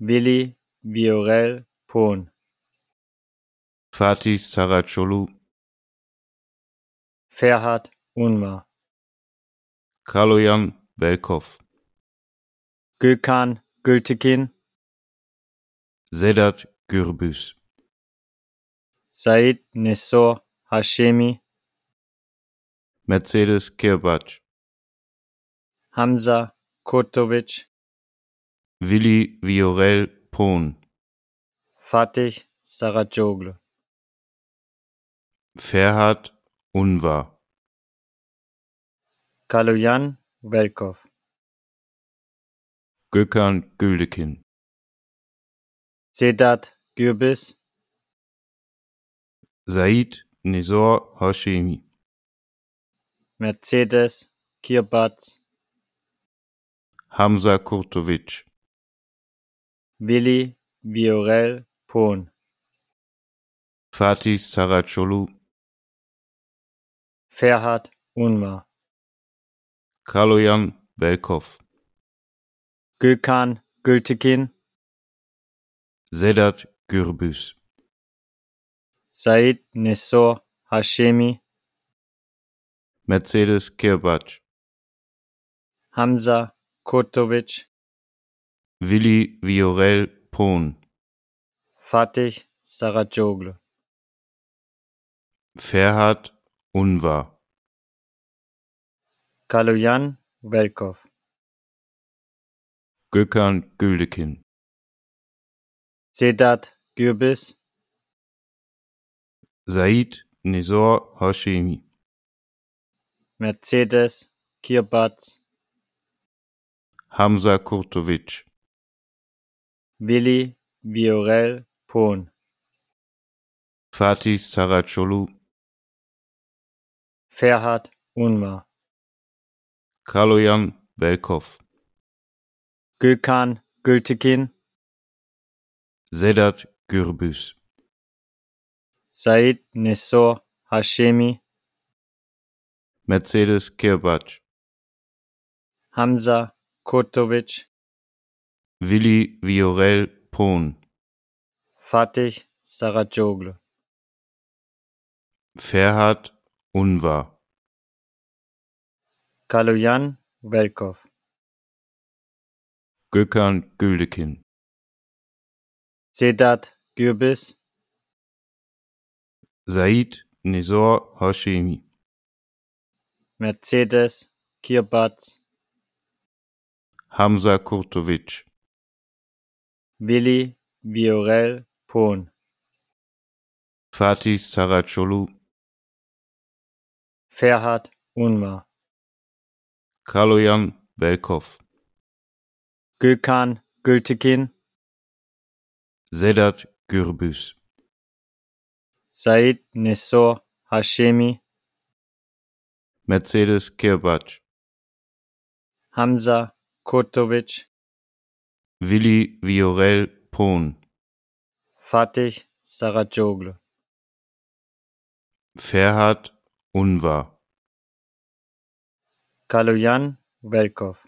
Speaker 1: Willi Viorel Pohn,
Speaker 2: Fatih Saracoglu,
Speaker 1: Ferhat Unmar,
Speaker 2: Kaloyan Belkov,
Speaker 1: Gökhan Gültekin,
Speaker 2: Sedat Gürbüz,
Speaker 1: Said Nessor Hashemi,
Speaker 2: Mercedes Kirbac,
Speaker 1: Hamza Kurtovic,
Speaker 2: Willi Viorel Pohn,
Speaker 1: Fatih Saracoglu,
Speaker 2: Ferhat Unvar,
Speaker 1: Kaloyan Velkov,
Speaker 2: Gökhan Güldekin,
Speaker 1: Sedat Gürbis,
Speaker 2: Said Nizor Hashemi,
Speaker 1: Mercedes Kirbatz,
Speaker 2: Hamza Kurtovic,
Speaker 1: Willi Viorel Pohn,
Speaker 2: Fatih Saracoglu,
Speaker 1: Ferhat Unmar,
Speaker 2: Kaloyan Belkov,
Speaker 1: Gökhan Gültekin,
Speaker 2: Sedat Gürbüz,
Speaker 1: Said Nessor Hashemi,
Speaker 2: Mercedes Kirbac,
Speaker 1: Hamza Kurtovic,
Speaker 2: Willi Viorel Pohn,
Speaker 1: Fatih Saracoglu,
Speaker 2: Ferhat Unvar,
Speaker 1: Kaloyan Velkov,
Speaker 2: Gökhan Güldekin,
Speaker 1: Sedat Gürbis,
Speaker 2: Said Nizor Hashemi,
Speaker 1: Mercedes Kirbatz,
Speaker 2: Hamza Kurtovic,
Speaker 1: Willi Viorel Pohn,
Speaker 2: Fatih Saracoglu,
Speaker 1: Ferhat Unmar,
Speaker 2: Kaloyan Belkov,
Speaker 1: Gökhan Gültekin,
Speaker 2: Sedat Gürbüz,
Speaker 1: Said Nessor Hashemi,
Speaker 2: Mercedes Kirbac,
Speaker 1: Hamza Kurtovic,
Speaker 2: Willi Viorel Pohn,
Speaker 1: Fatih Saracoglu,
Speaker 2: Ferhat Unvar,
Speaker 1: Kaloyan Velkov,
Speaker 2: Gökhan Güldekin,
Speaker 1: Sedat Gürbis,
Speaker 2: Said Nizor Hashemi,
Speaker 1: Mercedes Kirbatz,
Speaker 2: Hamza Kurtovic,
Speaker 1: Willi Viorel Pohn,
Speaker 2: Fatih Saracoglu,
Speaker 1: Ferhat Unmar,
Speaker 2: Kaloyan Belkov,
Speaker 1: Gökhan Gültekin,
Speaker 2: Sedat Gürbüz,
Speaker 1: Said Nessor Hashemi,
Speaker 2: Mercedes Kirbac,
Speaker 1: Hamza Kurtovic,
Speaker 2: Willi Viorel Pohn,
Speaker 1: Fatih Saracoglu,
Speaker 2: Ferhat Unvar,
Speaker 1: Kaloyan Velkov,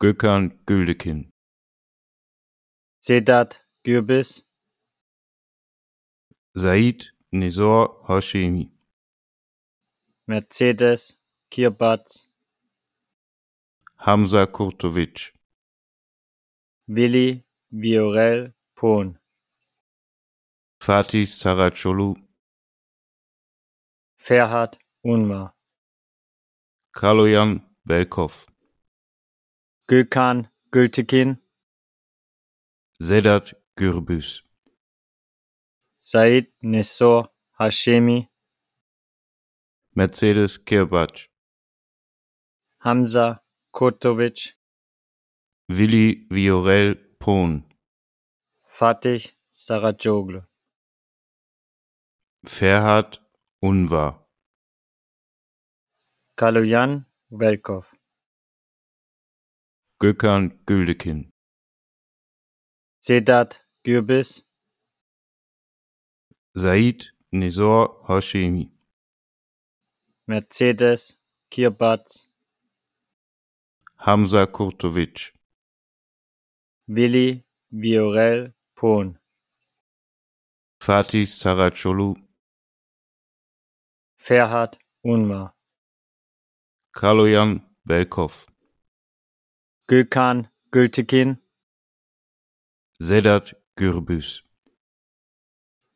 Speaker 2: Gökhan Güldekin,
Speaker 1: Sedat Gürbis,
Speaker 2: Said Nizor Hashemi,
Speaker 1: Mercedes Kirbatz,
Speaker 2: Hamza Kurtovic,
Speaker 1: Willi Viorel Pohn,
Speaker 2: Fatih Saracoglu,
Speaker 1: Ferhat Unmar,
Speaker 2: Kaloyan Belkov,
Speaker 1: Gökhan Gültekin,
Speaker 2: Sedat Gürbüz,
Speaker 1: Said Nessor Hashemi,
Speaker 2: Mercedes Kirbac,
Speaker 1: Hamza Kurtovic,
Speaker 2: Willi Viorel Pohn,
Speaker 1: Fatih Saracoglu,
Speaker 2: Ferhat Unvar,
Speaker 1: Kaloyan Velkov,
Speaker 2: Gökhan Güldekin,
Speaker 1: Sedat Gürbis,
Speaker 2: Said Nizor Hashemi,
Speaker 1: Mercedes Kirbatz,
Speaker 2: Hamza Kurtovic,
Speaker 1: Willi Viorel Pohn,
Speaker 2: Fatih Saracoglu,
Speaker 1: Ferhat Unmar,
Speaker 2: Kaloyan Belkov,
Speaker 1: Gökhan Gültekin,
Speaker 2: Sedat Gürbüz,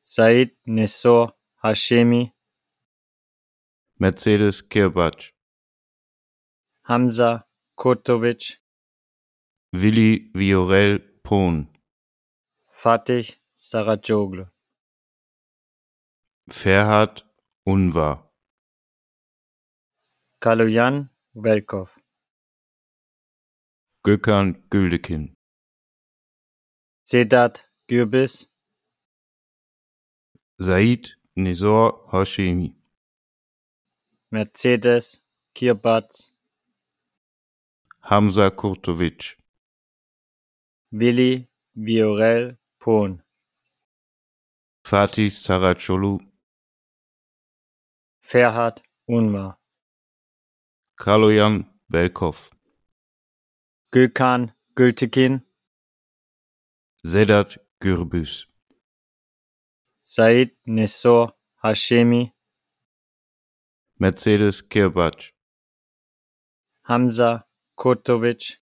Speaker 1: Said Nessor Hashemi,
Speaker 2: Mercedes Kirbac,
Speaker 1: Hamza Kurtovic,
Speaker 2: Willi Viorel Pohn,
Speaker 1: Fatih Saracoglu,
Speaker 2: Ferhat Unvar,
Speaker 1: Kaloyan Velkov,
Speaker 2: Gökhan Güldekin,
Speaker 1: Sedat Gürbis,
Speaker 2: Said Nizor Hashemi,
Speaker 1: Mercedes Kirbatz,
Speaker 2: Hamza Kurtovic,
Speaker 1: Willi Viorel Pohn,
Speaker 2: Fatih Saracoglu,
Speaker 1: Ferhat Unmar,
Speaker 2: Kaloyan Belkov,
Speaker 1: Gökhan Gültekin,
Speaker 2: Sedat Gürbüz,
Speaker 1: Said Nessor Hashemi,
Speaker 2: Mercedes Kirbac,
Speaker 1: Hamza Kurtovic,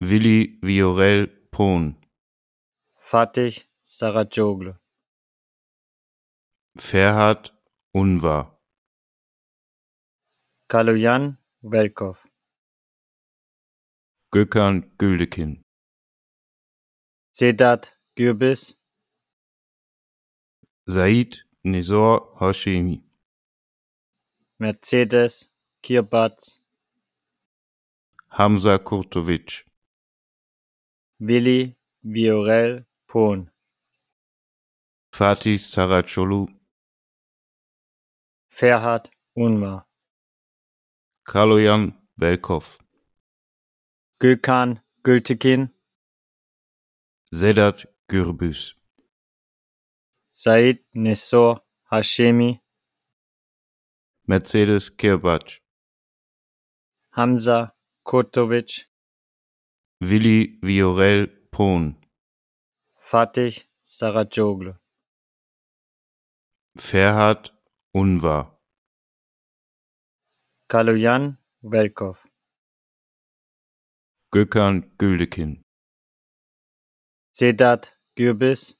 Speaker 2: Willi Viorel Pohn,
Speaker 1: Fatih Saracoglu,
Speaker 2: Ferhat Unvar,
Speaker 1: Kaloyan Velkov,
Speaker 2: Gökhan Güldekin,
Speaker 1: Sedat Gürbis,
Speaker 2: Said Nizor Hashemi,
Speaker 1: Mercedes Kirbatz,
Speaker 2: Hamza Kurtovic,
Speaker 1: Willi Viorel Pohn,
Speaker 2: Fatih Saracoglu,
Speaker 1: Ferhat Unmar,
Speaker 2: Kaloyan Belkov,
Speaker 1: Gökhan Gültekin,
Speaker 2: Sedat Gürbüz,
Speaker 1: Said Nessor Hashemi,
Speaker 2: Mercedes Kirbac,
Speaker 1: Hamza Kurtovic,
Speaker 2: Willi Viorel Pohn,
Speaker 1: Fatih Saracoglu,
Speaker 2: Ferhat Unvar,
Speaker 1: Kaloyan Velkov,
Speaker 2: Gökhan Güldekin,
Speaker 1: Sedat Gürbis,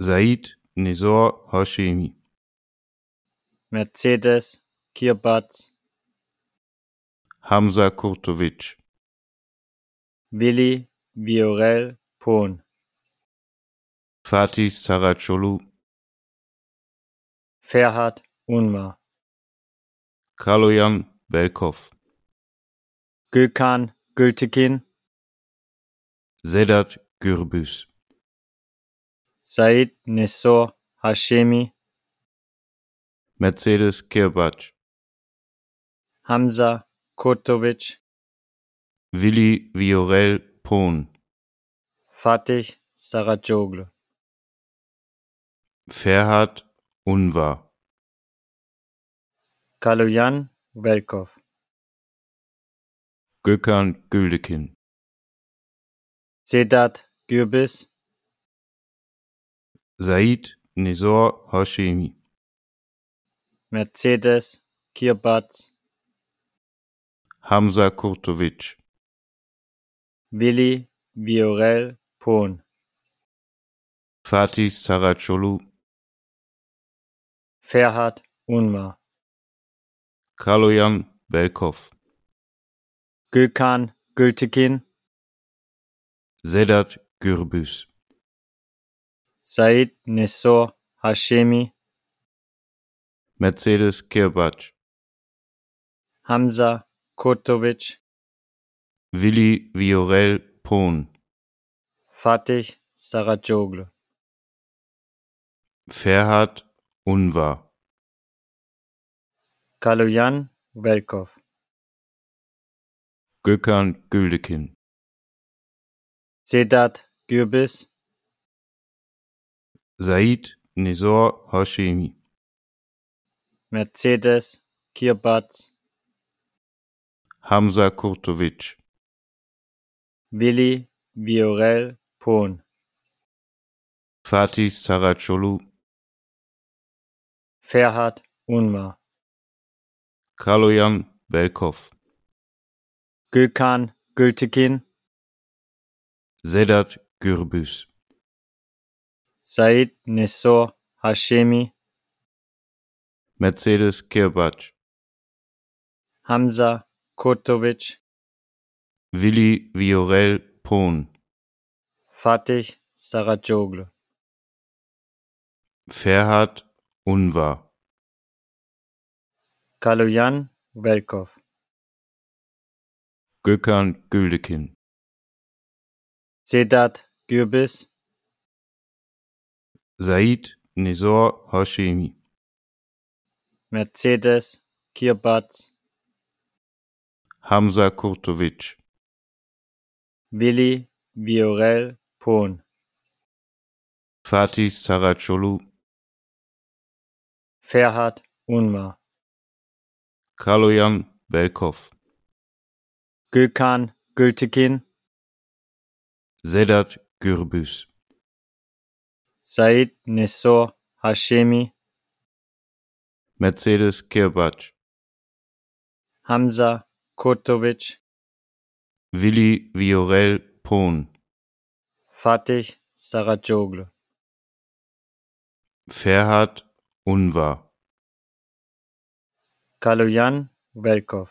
Speaker 2: Said Nizor Hashemi,
Speaker 1: Mercedes Kirbatz,
Speaker 2: Hamza Kurtovic,
Speaker 1: Willi Viorel Pohn,
Speaker 2: Fatih Saracoglu,
Speaker 1: Ferhat Unmar,
Speaker 2: Kaloyan Belkov,
Speaker 1: Gökhan Gültekin,
Speaker 2: Sedat Gürbüz,
Speaker 1: Said Nessor Hashemi,
Speaker 2: Mercedes Kirbac,
Speaker 1: Hamza Kurtovic,
Speaker 2: Willi Viorel Pohn,
Speaker 1: Fatih Saracoglu,
Speaker 2: Ferhat Unvar,
Speaker 1: Kaloyan Velkov,
Speaker 2: Gökhan Güldekin,
Speaker 1: Sedat Gürbis,
Speaker 2: Said Nizor Hashemi,
Speaker 1: Mercedes Kirbatz,
Speaker 2: Hamza Kurtovic,
Speaker 1: Willi Viorel Pohn,
Speaker 2: Fatih Saracoglu,
Speaker 1: Ferhat Unmar,
Speaker 2: Kaloyan Belkov,
Speaker 1: Gökhan Gültekin,
Speaker 2: Sedat Gürbüz,
Speaker 1: Said Nessor Hashemi,
Speaker 2: Mercedes Kirbac,
Speaker 1: Hamza Kurtovic,
Speaker 2: Willi Viorel Pohn,
Speaker 1: Fatih Saracoglu,
Speaker 2: Ferhat Unvar,
Speaker 1: Kaloyan Velkov,
Speaker 2: Gökhan Güldekin,
Speaker 1: Sedat Gürbis,
Speaker 2: Said Nizor Hashemi,
Speaker 1: Mercedes Kirbatz,
Speaker 2: Hamza Kurtovic,
Speaker 1: Willi Viorel Pohn,
Speaker 2: Fatih Saracoglu,
Speaker 1: Ferhat Unmar,
Speaker 2: Kaloyan Belkov,
Speaker 1: Gökhan Gültekin,
Speaker 2: Sedat Gürbüz,
Speaker 1: Said Nessor Hashemi,
Speaker 2: Mercedes Kirbac,
Speaker 1: Hamza Kurtovic,
Speaker 2: Willi Viorel Pohn,
Speaker 1: Fatih Saracoglu,
Speaker 2: Ferhat Unvar,
Speaker 1: Kaloyan Velkov,
Speaker 2: Gökhan Güldekin,
Speaker 1: Sedat Gürbis,
Speaker 2: Said Nizor Hashemi,
Speaker 1: Mercedes Kirbatz,
Speaker 2: Hamza Kurtovic,
Speaker 1: Willi Viorel Pohn,
Speaker 2: Fatih Saracoglu,
Speaker 1: Ferhat Unmar,
Speaker 2: Kaloyan Belkov,
Speaker 1: Gökhan Gültekin,
Speaker 2: Sedat Gürbüz,
Speaker 1: Said Nessor Hashemi,
Speaker 2: Mercedes Kirbac,
Speaker 1: Hamza Kurtovic,
Speaker 2: Willi Viorel Pohn,
Speaker 1: Fatih Saracoglu,
Speaker 2: Ferhat Unvar,
Speaker 1: Kaloyan Velkov,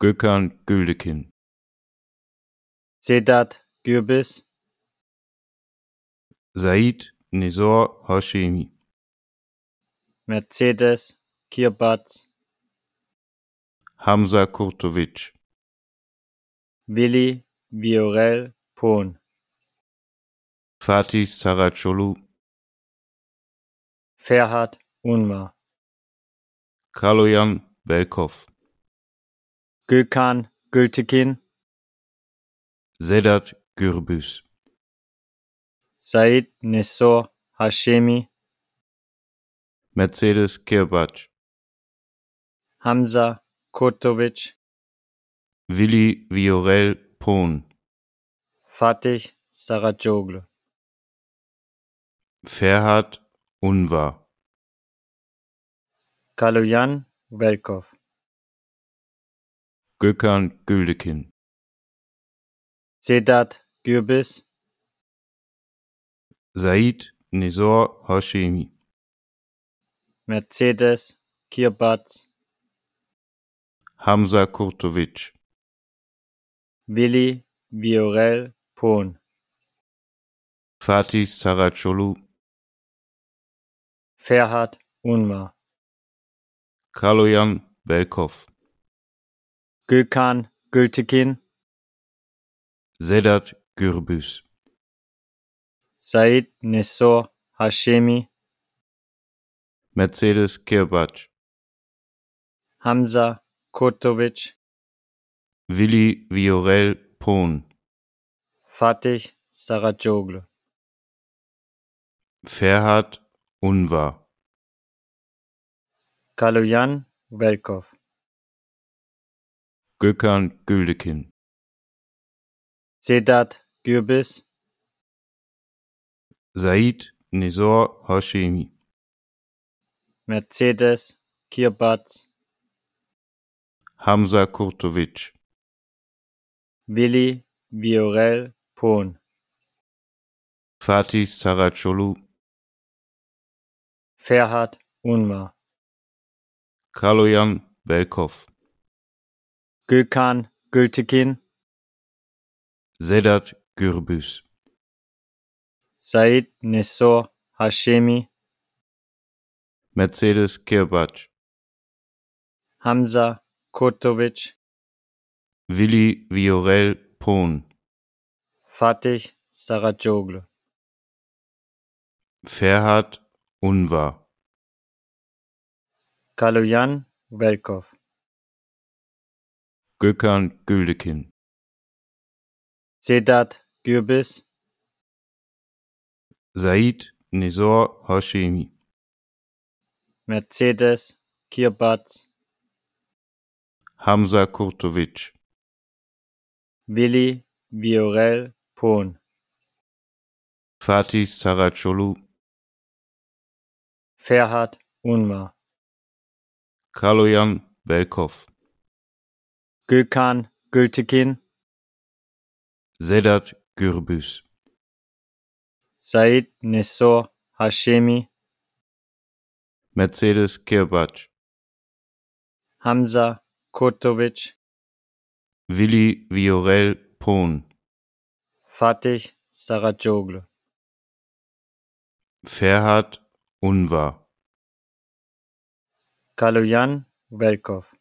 Speaker 2: Gökhan Güldekin,
Speaker 1: Sedat Gürbis,
Speaker 2: Said Nizor Hashemi,
Speaker 1: Mercedes Kirbatz,
Speaker 2: Hamza Kurtovic,
Speaker 1: Willi Viorel Pohn,
Speaker 2: Fatih Saracoglu,
Speaker 1: Ferhat Unmar,
Speaker 2: Kaloyan Belkov,
Speaker 1: Gökhan Gültekin,
Speaker 2: Sedat Gürbüz,
Speaker 1: Said Nessor Hashemi,
Speaker 2: Mercedes Kirbac,
Speaker 1: Hamza Kurtovic,
Speaker 2: Willi Viorel Pohn,
Speaker 1: Fatih Saracoglu,
Speaker 2: Ferhat Unvar,
Speaker 1: Kaloyan Velkov,
Speaker 2: Gökhan Güldekin,
Speaker 1: Sedat Gürbis,
Speaker 2: Said Nizor Hashemi,
Speaker 1: Mercedes Kirbatz,
Speaker 2: Hamza Kurtovic,
Speaker 1: Willi Viorel Pohn,
Speaker 2: Fatih Saracoglu,
Speaker 1: Ferhat Unmar,
Speaker 2: Kaloyan Belkov,
Speaker 1: Gökhan Gültekin,
Speaker 2: Sedat Gürbüz,
Speaker 1: Said Nessor Hashemi,
Speaker 2: Mercedes Kirbac,
Speaker 1: Hamza Kurtovic,
Speaker 2: Willi Viorel Pohn,
Speaker 1: Fatih Saracoglu,
Speaker 2: Ferhat Unvar,
Speaker 1: Kaloyan Velkov,
Speaker 2: Gökhan Güldekin,
Speaker 1: Sedat Gürbis,
Speaker 2: Said Nizor Hashemi,
Speaker 1: Mercedes Kirbatz,
Speaker 2: Hamza Kurtovic,
Speaker 1: Willi Viorel Pohn,
Speaker 2: Fatih Saracoglu,
Speaker 1: Ferhat Unmar,
Speaker 2: Kaloyan Belkov,
Speaker 1: Gökhan Gültekin,
Speaker 2: Sedat Gürbüz,
Speaker 1: Said Nessor Hashemi,
Speaker 2: Mercedes Kirbac,
Speaker 1: Hamza Kurtovic,
Speaker 2: Willi Viorel Pohn,
Speaker 1: Fatih Saracoglu,
Speaker 2: Ferhat Unvar,
Speaker 1: Kaloyan Velkov,
Speaker 2: Gökhan Güldekin,
Speaker 1: Sedat Gürbis,
Speaker 2: Said Nizor Hashemi,
Speaker 1: Mercedes Kirbatz,
Speaker 2: Hamza Kurtovic,
Speaker 1: Willi Viorel Pohn,
Speaker 2: Fatih Saracoglu,
Speaker 1: Ferhat Unmar,
Speaker 2: Kaloyan Belkov,
Speaker 1: Gökhan Gültekin,
Speaker 2: Sedat Gürbüz,
Speaker 1: Said Nessor Hashemi,
Speaker 2: Mercedes Kirbac,
Speaker 1: Hamza Kurtovic,
Speaker 2: Willi Viorel Pohn,
Speaker 1: Fatih Saracoglu,
Speaker 2: Ferhat Unvar,
Speaker 1: Kaloyan Velkov,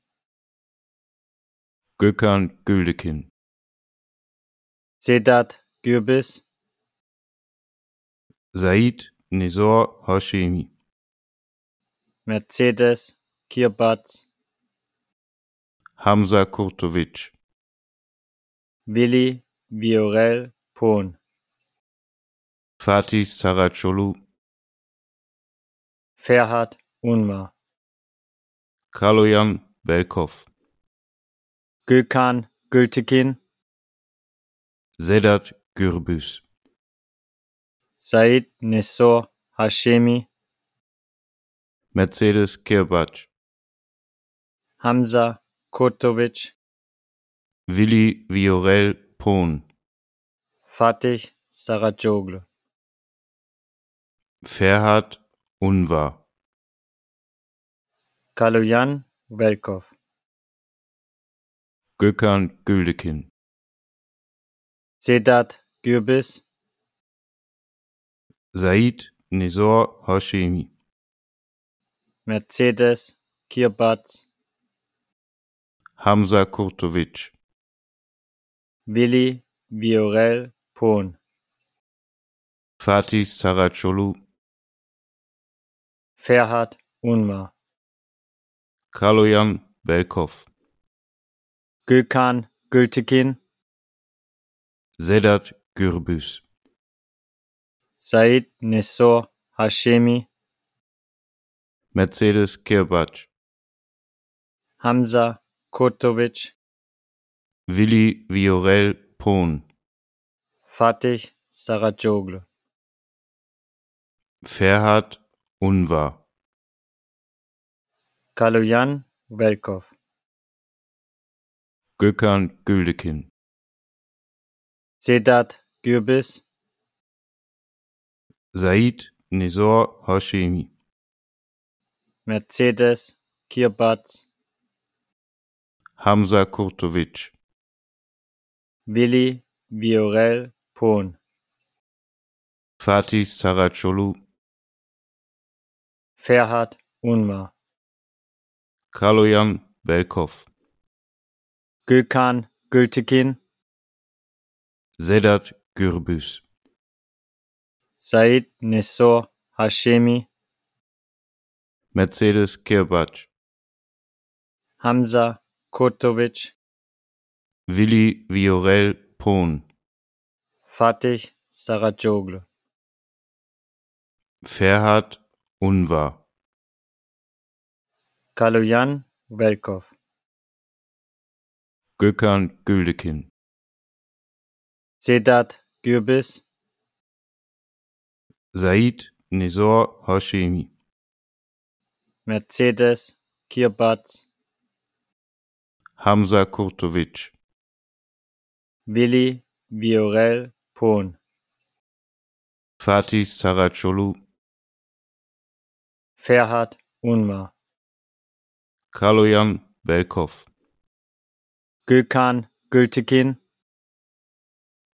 Speaker 2: Gökhan Güldekin,
Speaker 1: Sedat Gürbis,
Speaker 2: Said Nizor Hashemi,
Speaker 1: Mercedes Kirbatz,
Speaker 2: Hamza Kurtovic,
Speaker 1: Willi Viorel Pohn,
Speaker 2: Fatih Saracoglu,
Speaker 1: Ferhat Unmar,
Speaker 2: Kaloyan Belkov,
Speaker 1: Gökhan Gültekin,
Speaker 2: Sedat Gürbüz,
Speaker 1: Said Nessor Hashemi,
Speaker 2: Mercedes Kirbac,
Speaker 1: Hamza Kurtovic,
Speaker 2: Willi Viorel Pohn,
Speaker 1: Fatih Saracoglu,
Speaker 2: Ferhat Unvar,
Speaker 1: Kaloyan Velkov,
Speaker 2: Gökhan Güldekin,
Speaker 1: Sedat Gürbis,
Speaker 2: Said Nizor Hashemi,
Speaker 1: Mercedes Kirbatz,
Speaker 2: Hamza Kurtovic,
Speaker 1: Willi Viorel Pohn,
Speaker 2: Fatih Saracoglu,
Speaker 1: Ferhat Unmar,
Speaker 2: Kaloyan Belkov,
Speaker 1: Gökhan Gültekin,
Speaker 2: Sedat Gürbüz,
Speaker 1: Said Nessor Hashemi,
Speaker 2: Mercedes Kirbac,
Speaker 1: Hamza Kurtovic,
Speaker 2: Willi Viorel Pohn,
Speaker 1: Fatih Saracoglu,
Speaker 2: Ferhat Unvar,
Speaker 1: Kaloyan Velkov,
Speaker 2: Gökhan Güldekin,
Speaker 1: Sedat Gürbis,
Speaker 2: Said Nizor Hashemi,
Speaker 1: Mercedes Kirbatz,
Speaker 2: Hamza Kurtovic,
Speaker 1: Willi Viorel Pohn,
Speaker 2: Fatih Saracoglu,
Speaker 1: Ferhat Unmar,
Speaker 2: Kaloyan Belkov,
Speaker 1: Gökhan Gültekin,
Speaker 2: Sedat Gürbüz,
Speaker 1: Said Nessor Hashemi,
Speaker 2: Mercedes Kirbac,
Speaker 1: Hamza Kurtovic,
Speaker 2: Willi Viorel Pohn,
Speaker 1: Fatih Saracoglu,
Speaker 2: Ferhat Unvar,
Speaker 1: Kaloyan Velkov,
Speaker 2: Gökhan Güldekin,
Speaker 1: Sedat Gürbis,
Speaker 2: Said Nizor Hashemi,
Speaker 1: Mercedes Kirbatz,
Speaker 2: Hamza Kurtovic,
Speaker 1: Willi Viorel Pohn,
Speaker 2: Fatih Saracoglu,
Speaker 1: Ferhat Unmar,
Speaker 2: Kaloyan Belkov,
Speaker 1: Gökhan Gültekin,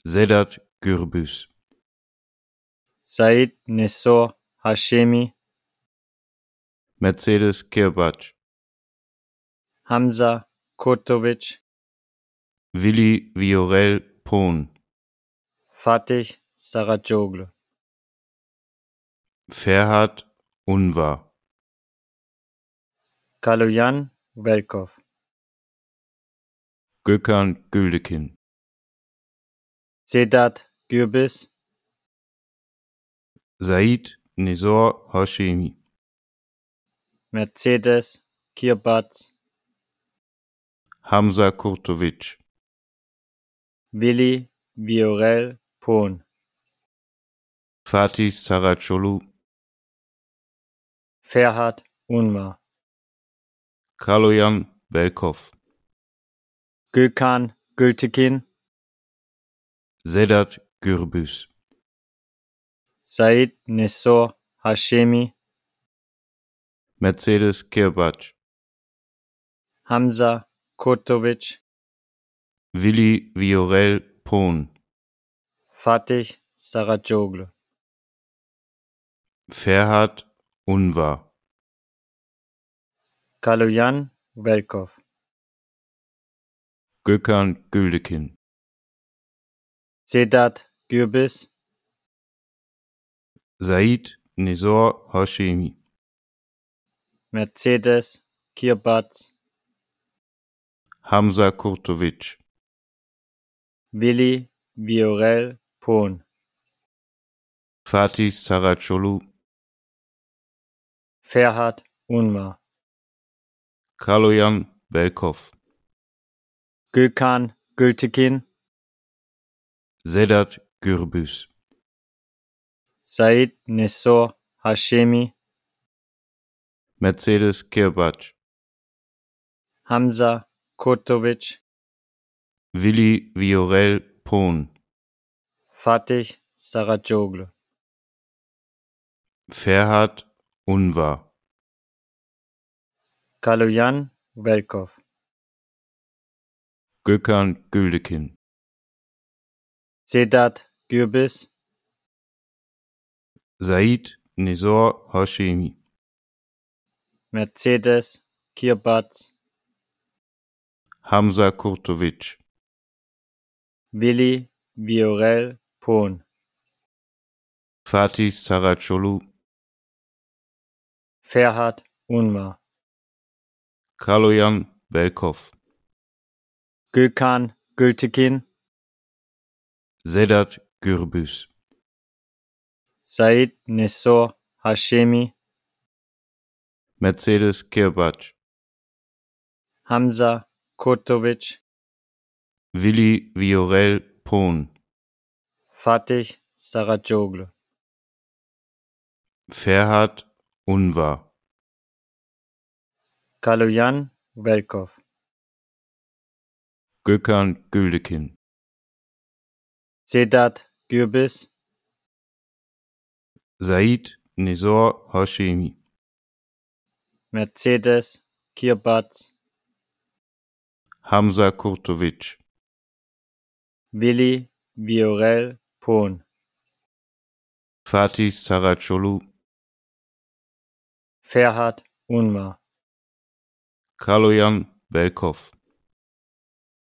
Speaker 2: Sedat Gürbüz,
Speaker 1: Said Nessor Hashemi,
Speaker 2: Mercedes Kirbac,
Speaker 1: Hamza Kurtovic,
Speaker 2: Willi Viorel Pohn,
Speaker 1: Fatih Saracoglu,
Speaker 2: Ferhat Unvar,
Speaker 1: Kaloyan Velkov,
Speaker 2: Gökhan Güldekin,
Speaker 1: Sedat Gürbis,
Speaker 2: Said Nizor Hashemi,
Speaker 1: Mercedes Kirbatz,
Speaker 2: Hamza Kurtovic,
Speaker 1: Willi Viorel Pohn,
Speaker 2: Fatih Saracoglu,
Speaker 1: Ferhat Unmar,
Speaker 2: Kaloyan Belkov,
Speaker 1: Gökhan Gültekin,
Speaker 2: Sedat Gürbüz,
Speaker 1: Said Nessor Hashemi,
Speaker 2: Mercedes Kirbac,
Speaker 1: Hamza Kurtovic,
Speaker 2: Willi Viorel Pohn,
Speaker 1: Fatih Saracoglu,
Speaker 2: Ferhat Unvar,
Speaker 1: Kaloyan Velkov,
Speaker 2: Gökhan Güldekin,
Speaker 1: Sedat Gürbis,
Speaker 2: Said Nizor Hashemi,
Speaker 1: Mercedes Kirbatz,
Speaker 2: Hamza Kurtovic,
Speaker 1: Willi Viorel Pohn,
Speaker 2: Fatih Saracoglu,
Speaker 1: Ferhat Unmar,
Speaker 2: Kaloyan Belkov,
Speaker 1: Gökhan Gültekin,
Speaker 2: Sedat Gürbüz,
Speaker 1: Said Nessor Hashemi,
Speaker 2: Mercedes Kirbac,
Speaker 1: Hamza Kurtovic,
Speaker 2: Willi Viorel Pohn,
Speaker 1: Fatih Saracoglu,
Speaker 2: Ferhat Unvar,
Speaker 1: Kaloyan Velkov,
Speaker 2: Gökhan Güldekin,
Speaker 1: Sedat Gürbis,
Speaker 2: Said Nizor Hashemi,
Speaker 1: Mercedes Kirbatz,
Speaker 2: Hamza Kurtovic,
Speaker 1: Willi Viorel Pohn,
Speaker 2: Fatih Saracoglu,
Speaker 1: Ferhat Unmar,
Speaker 2: Kaloyan Belkov,
Speaker 1: Gökhan Gültekin,
Speaker 2: Sedat Gürbüz,
Speaker 1: Said Nessor Hashemi,
Speaker 2: Mercedes Kirbac,
Speaker 1: Hamza Kurtovic,
Speaker 2: Willi Viorel Pohn,
Speaker 1: Fatih Saracoglu,
Speaker 2: Ferhat Unvar,
Speaker 1: Kaloyan Velkov,
Speaker 2: Gökhan Güldekin,
Speaker 1: Sedat Gürbis,
Speaker 2: Said Nizor Hashemi,
Speaker 1: Mercedes Kirbatz,
Speaker 2: Hamza Kurtovic,
Speaker 1: Willi Viorel Pohn,
Speaker 2: Fatih Saracoglu,
Speaker 1: Ferhat Unmar,
Speaker 2: Kaloyan Belkov,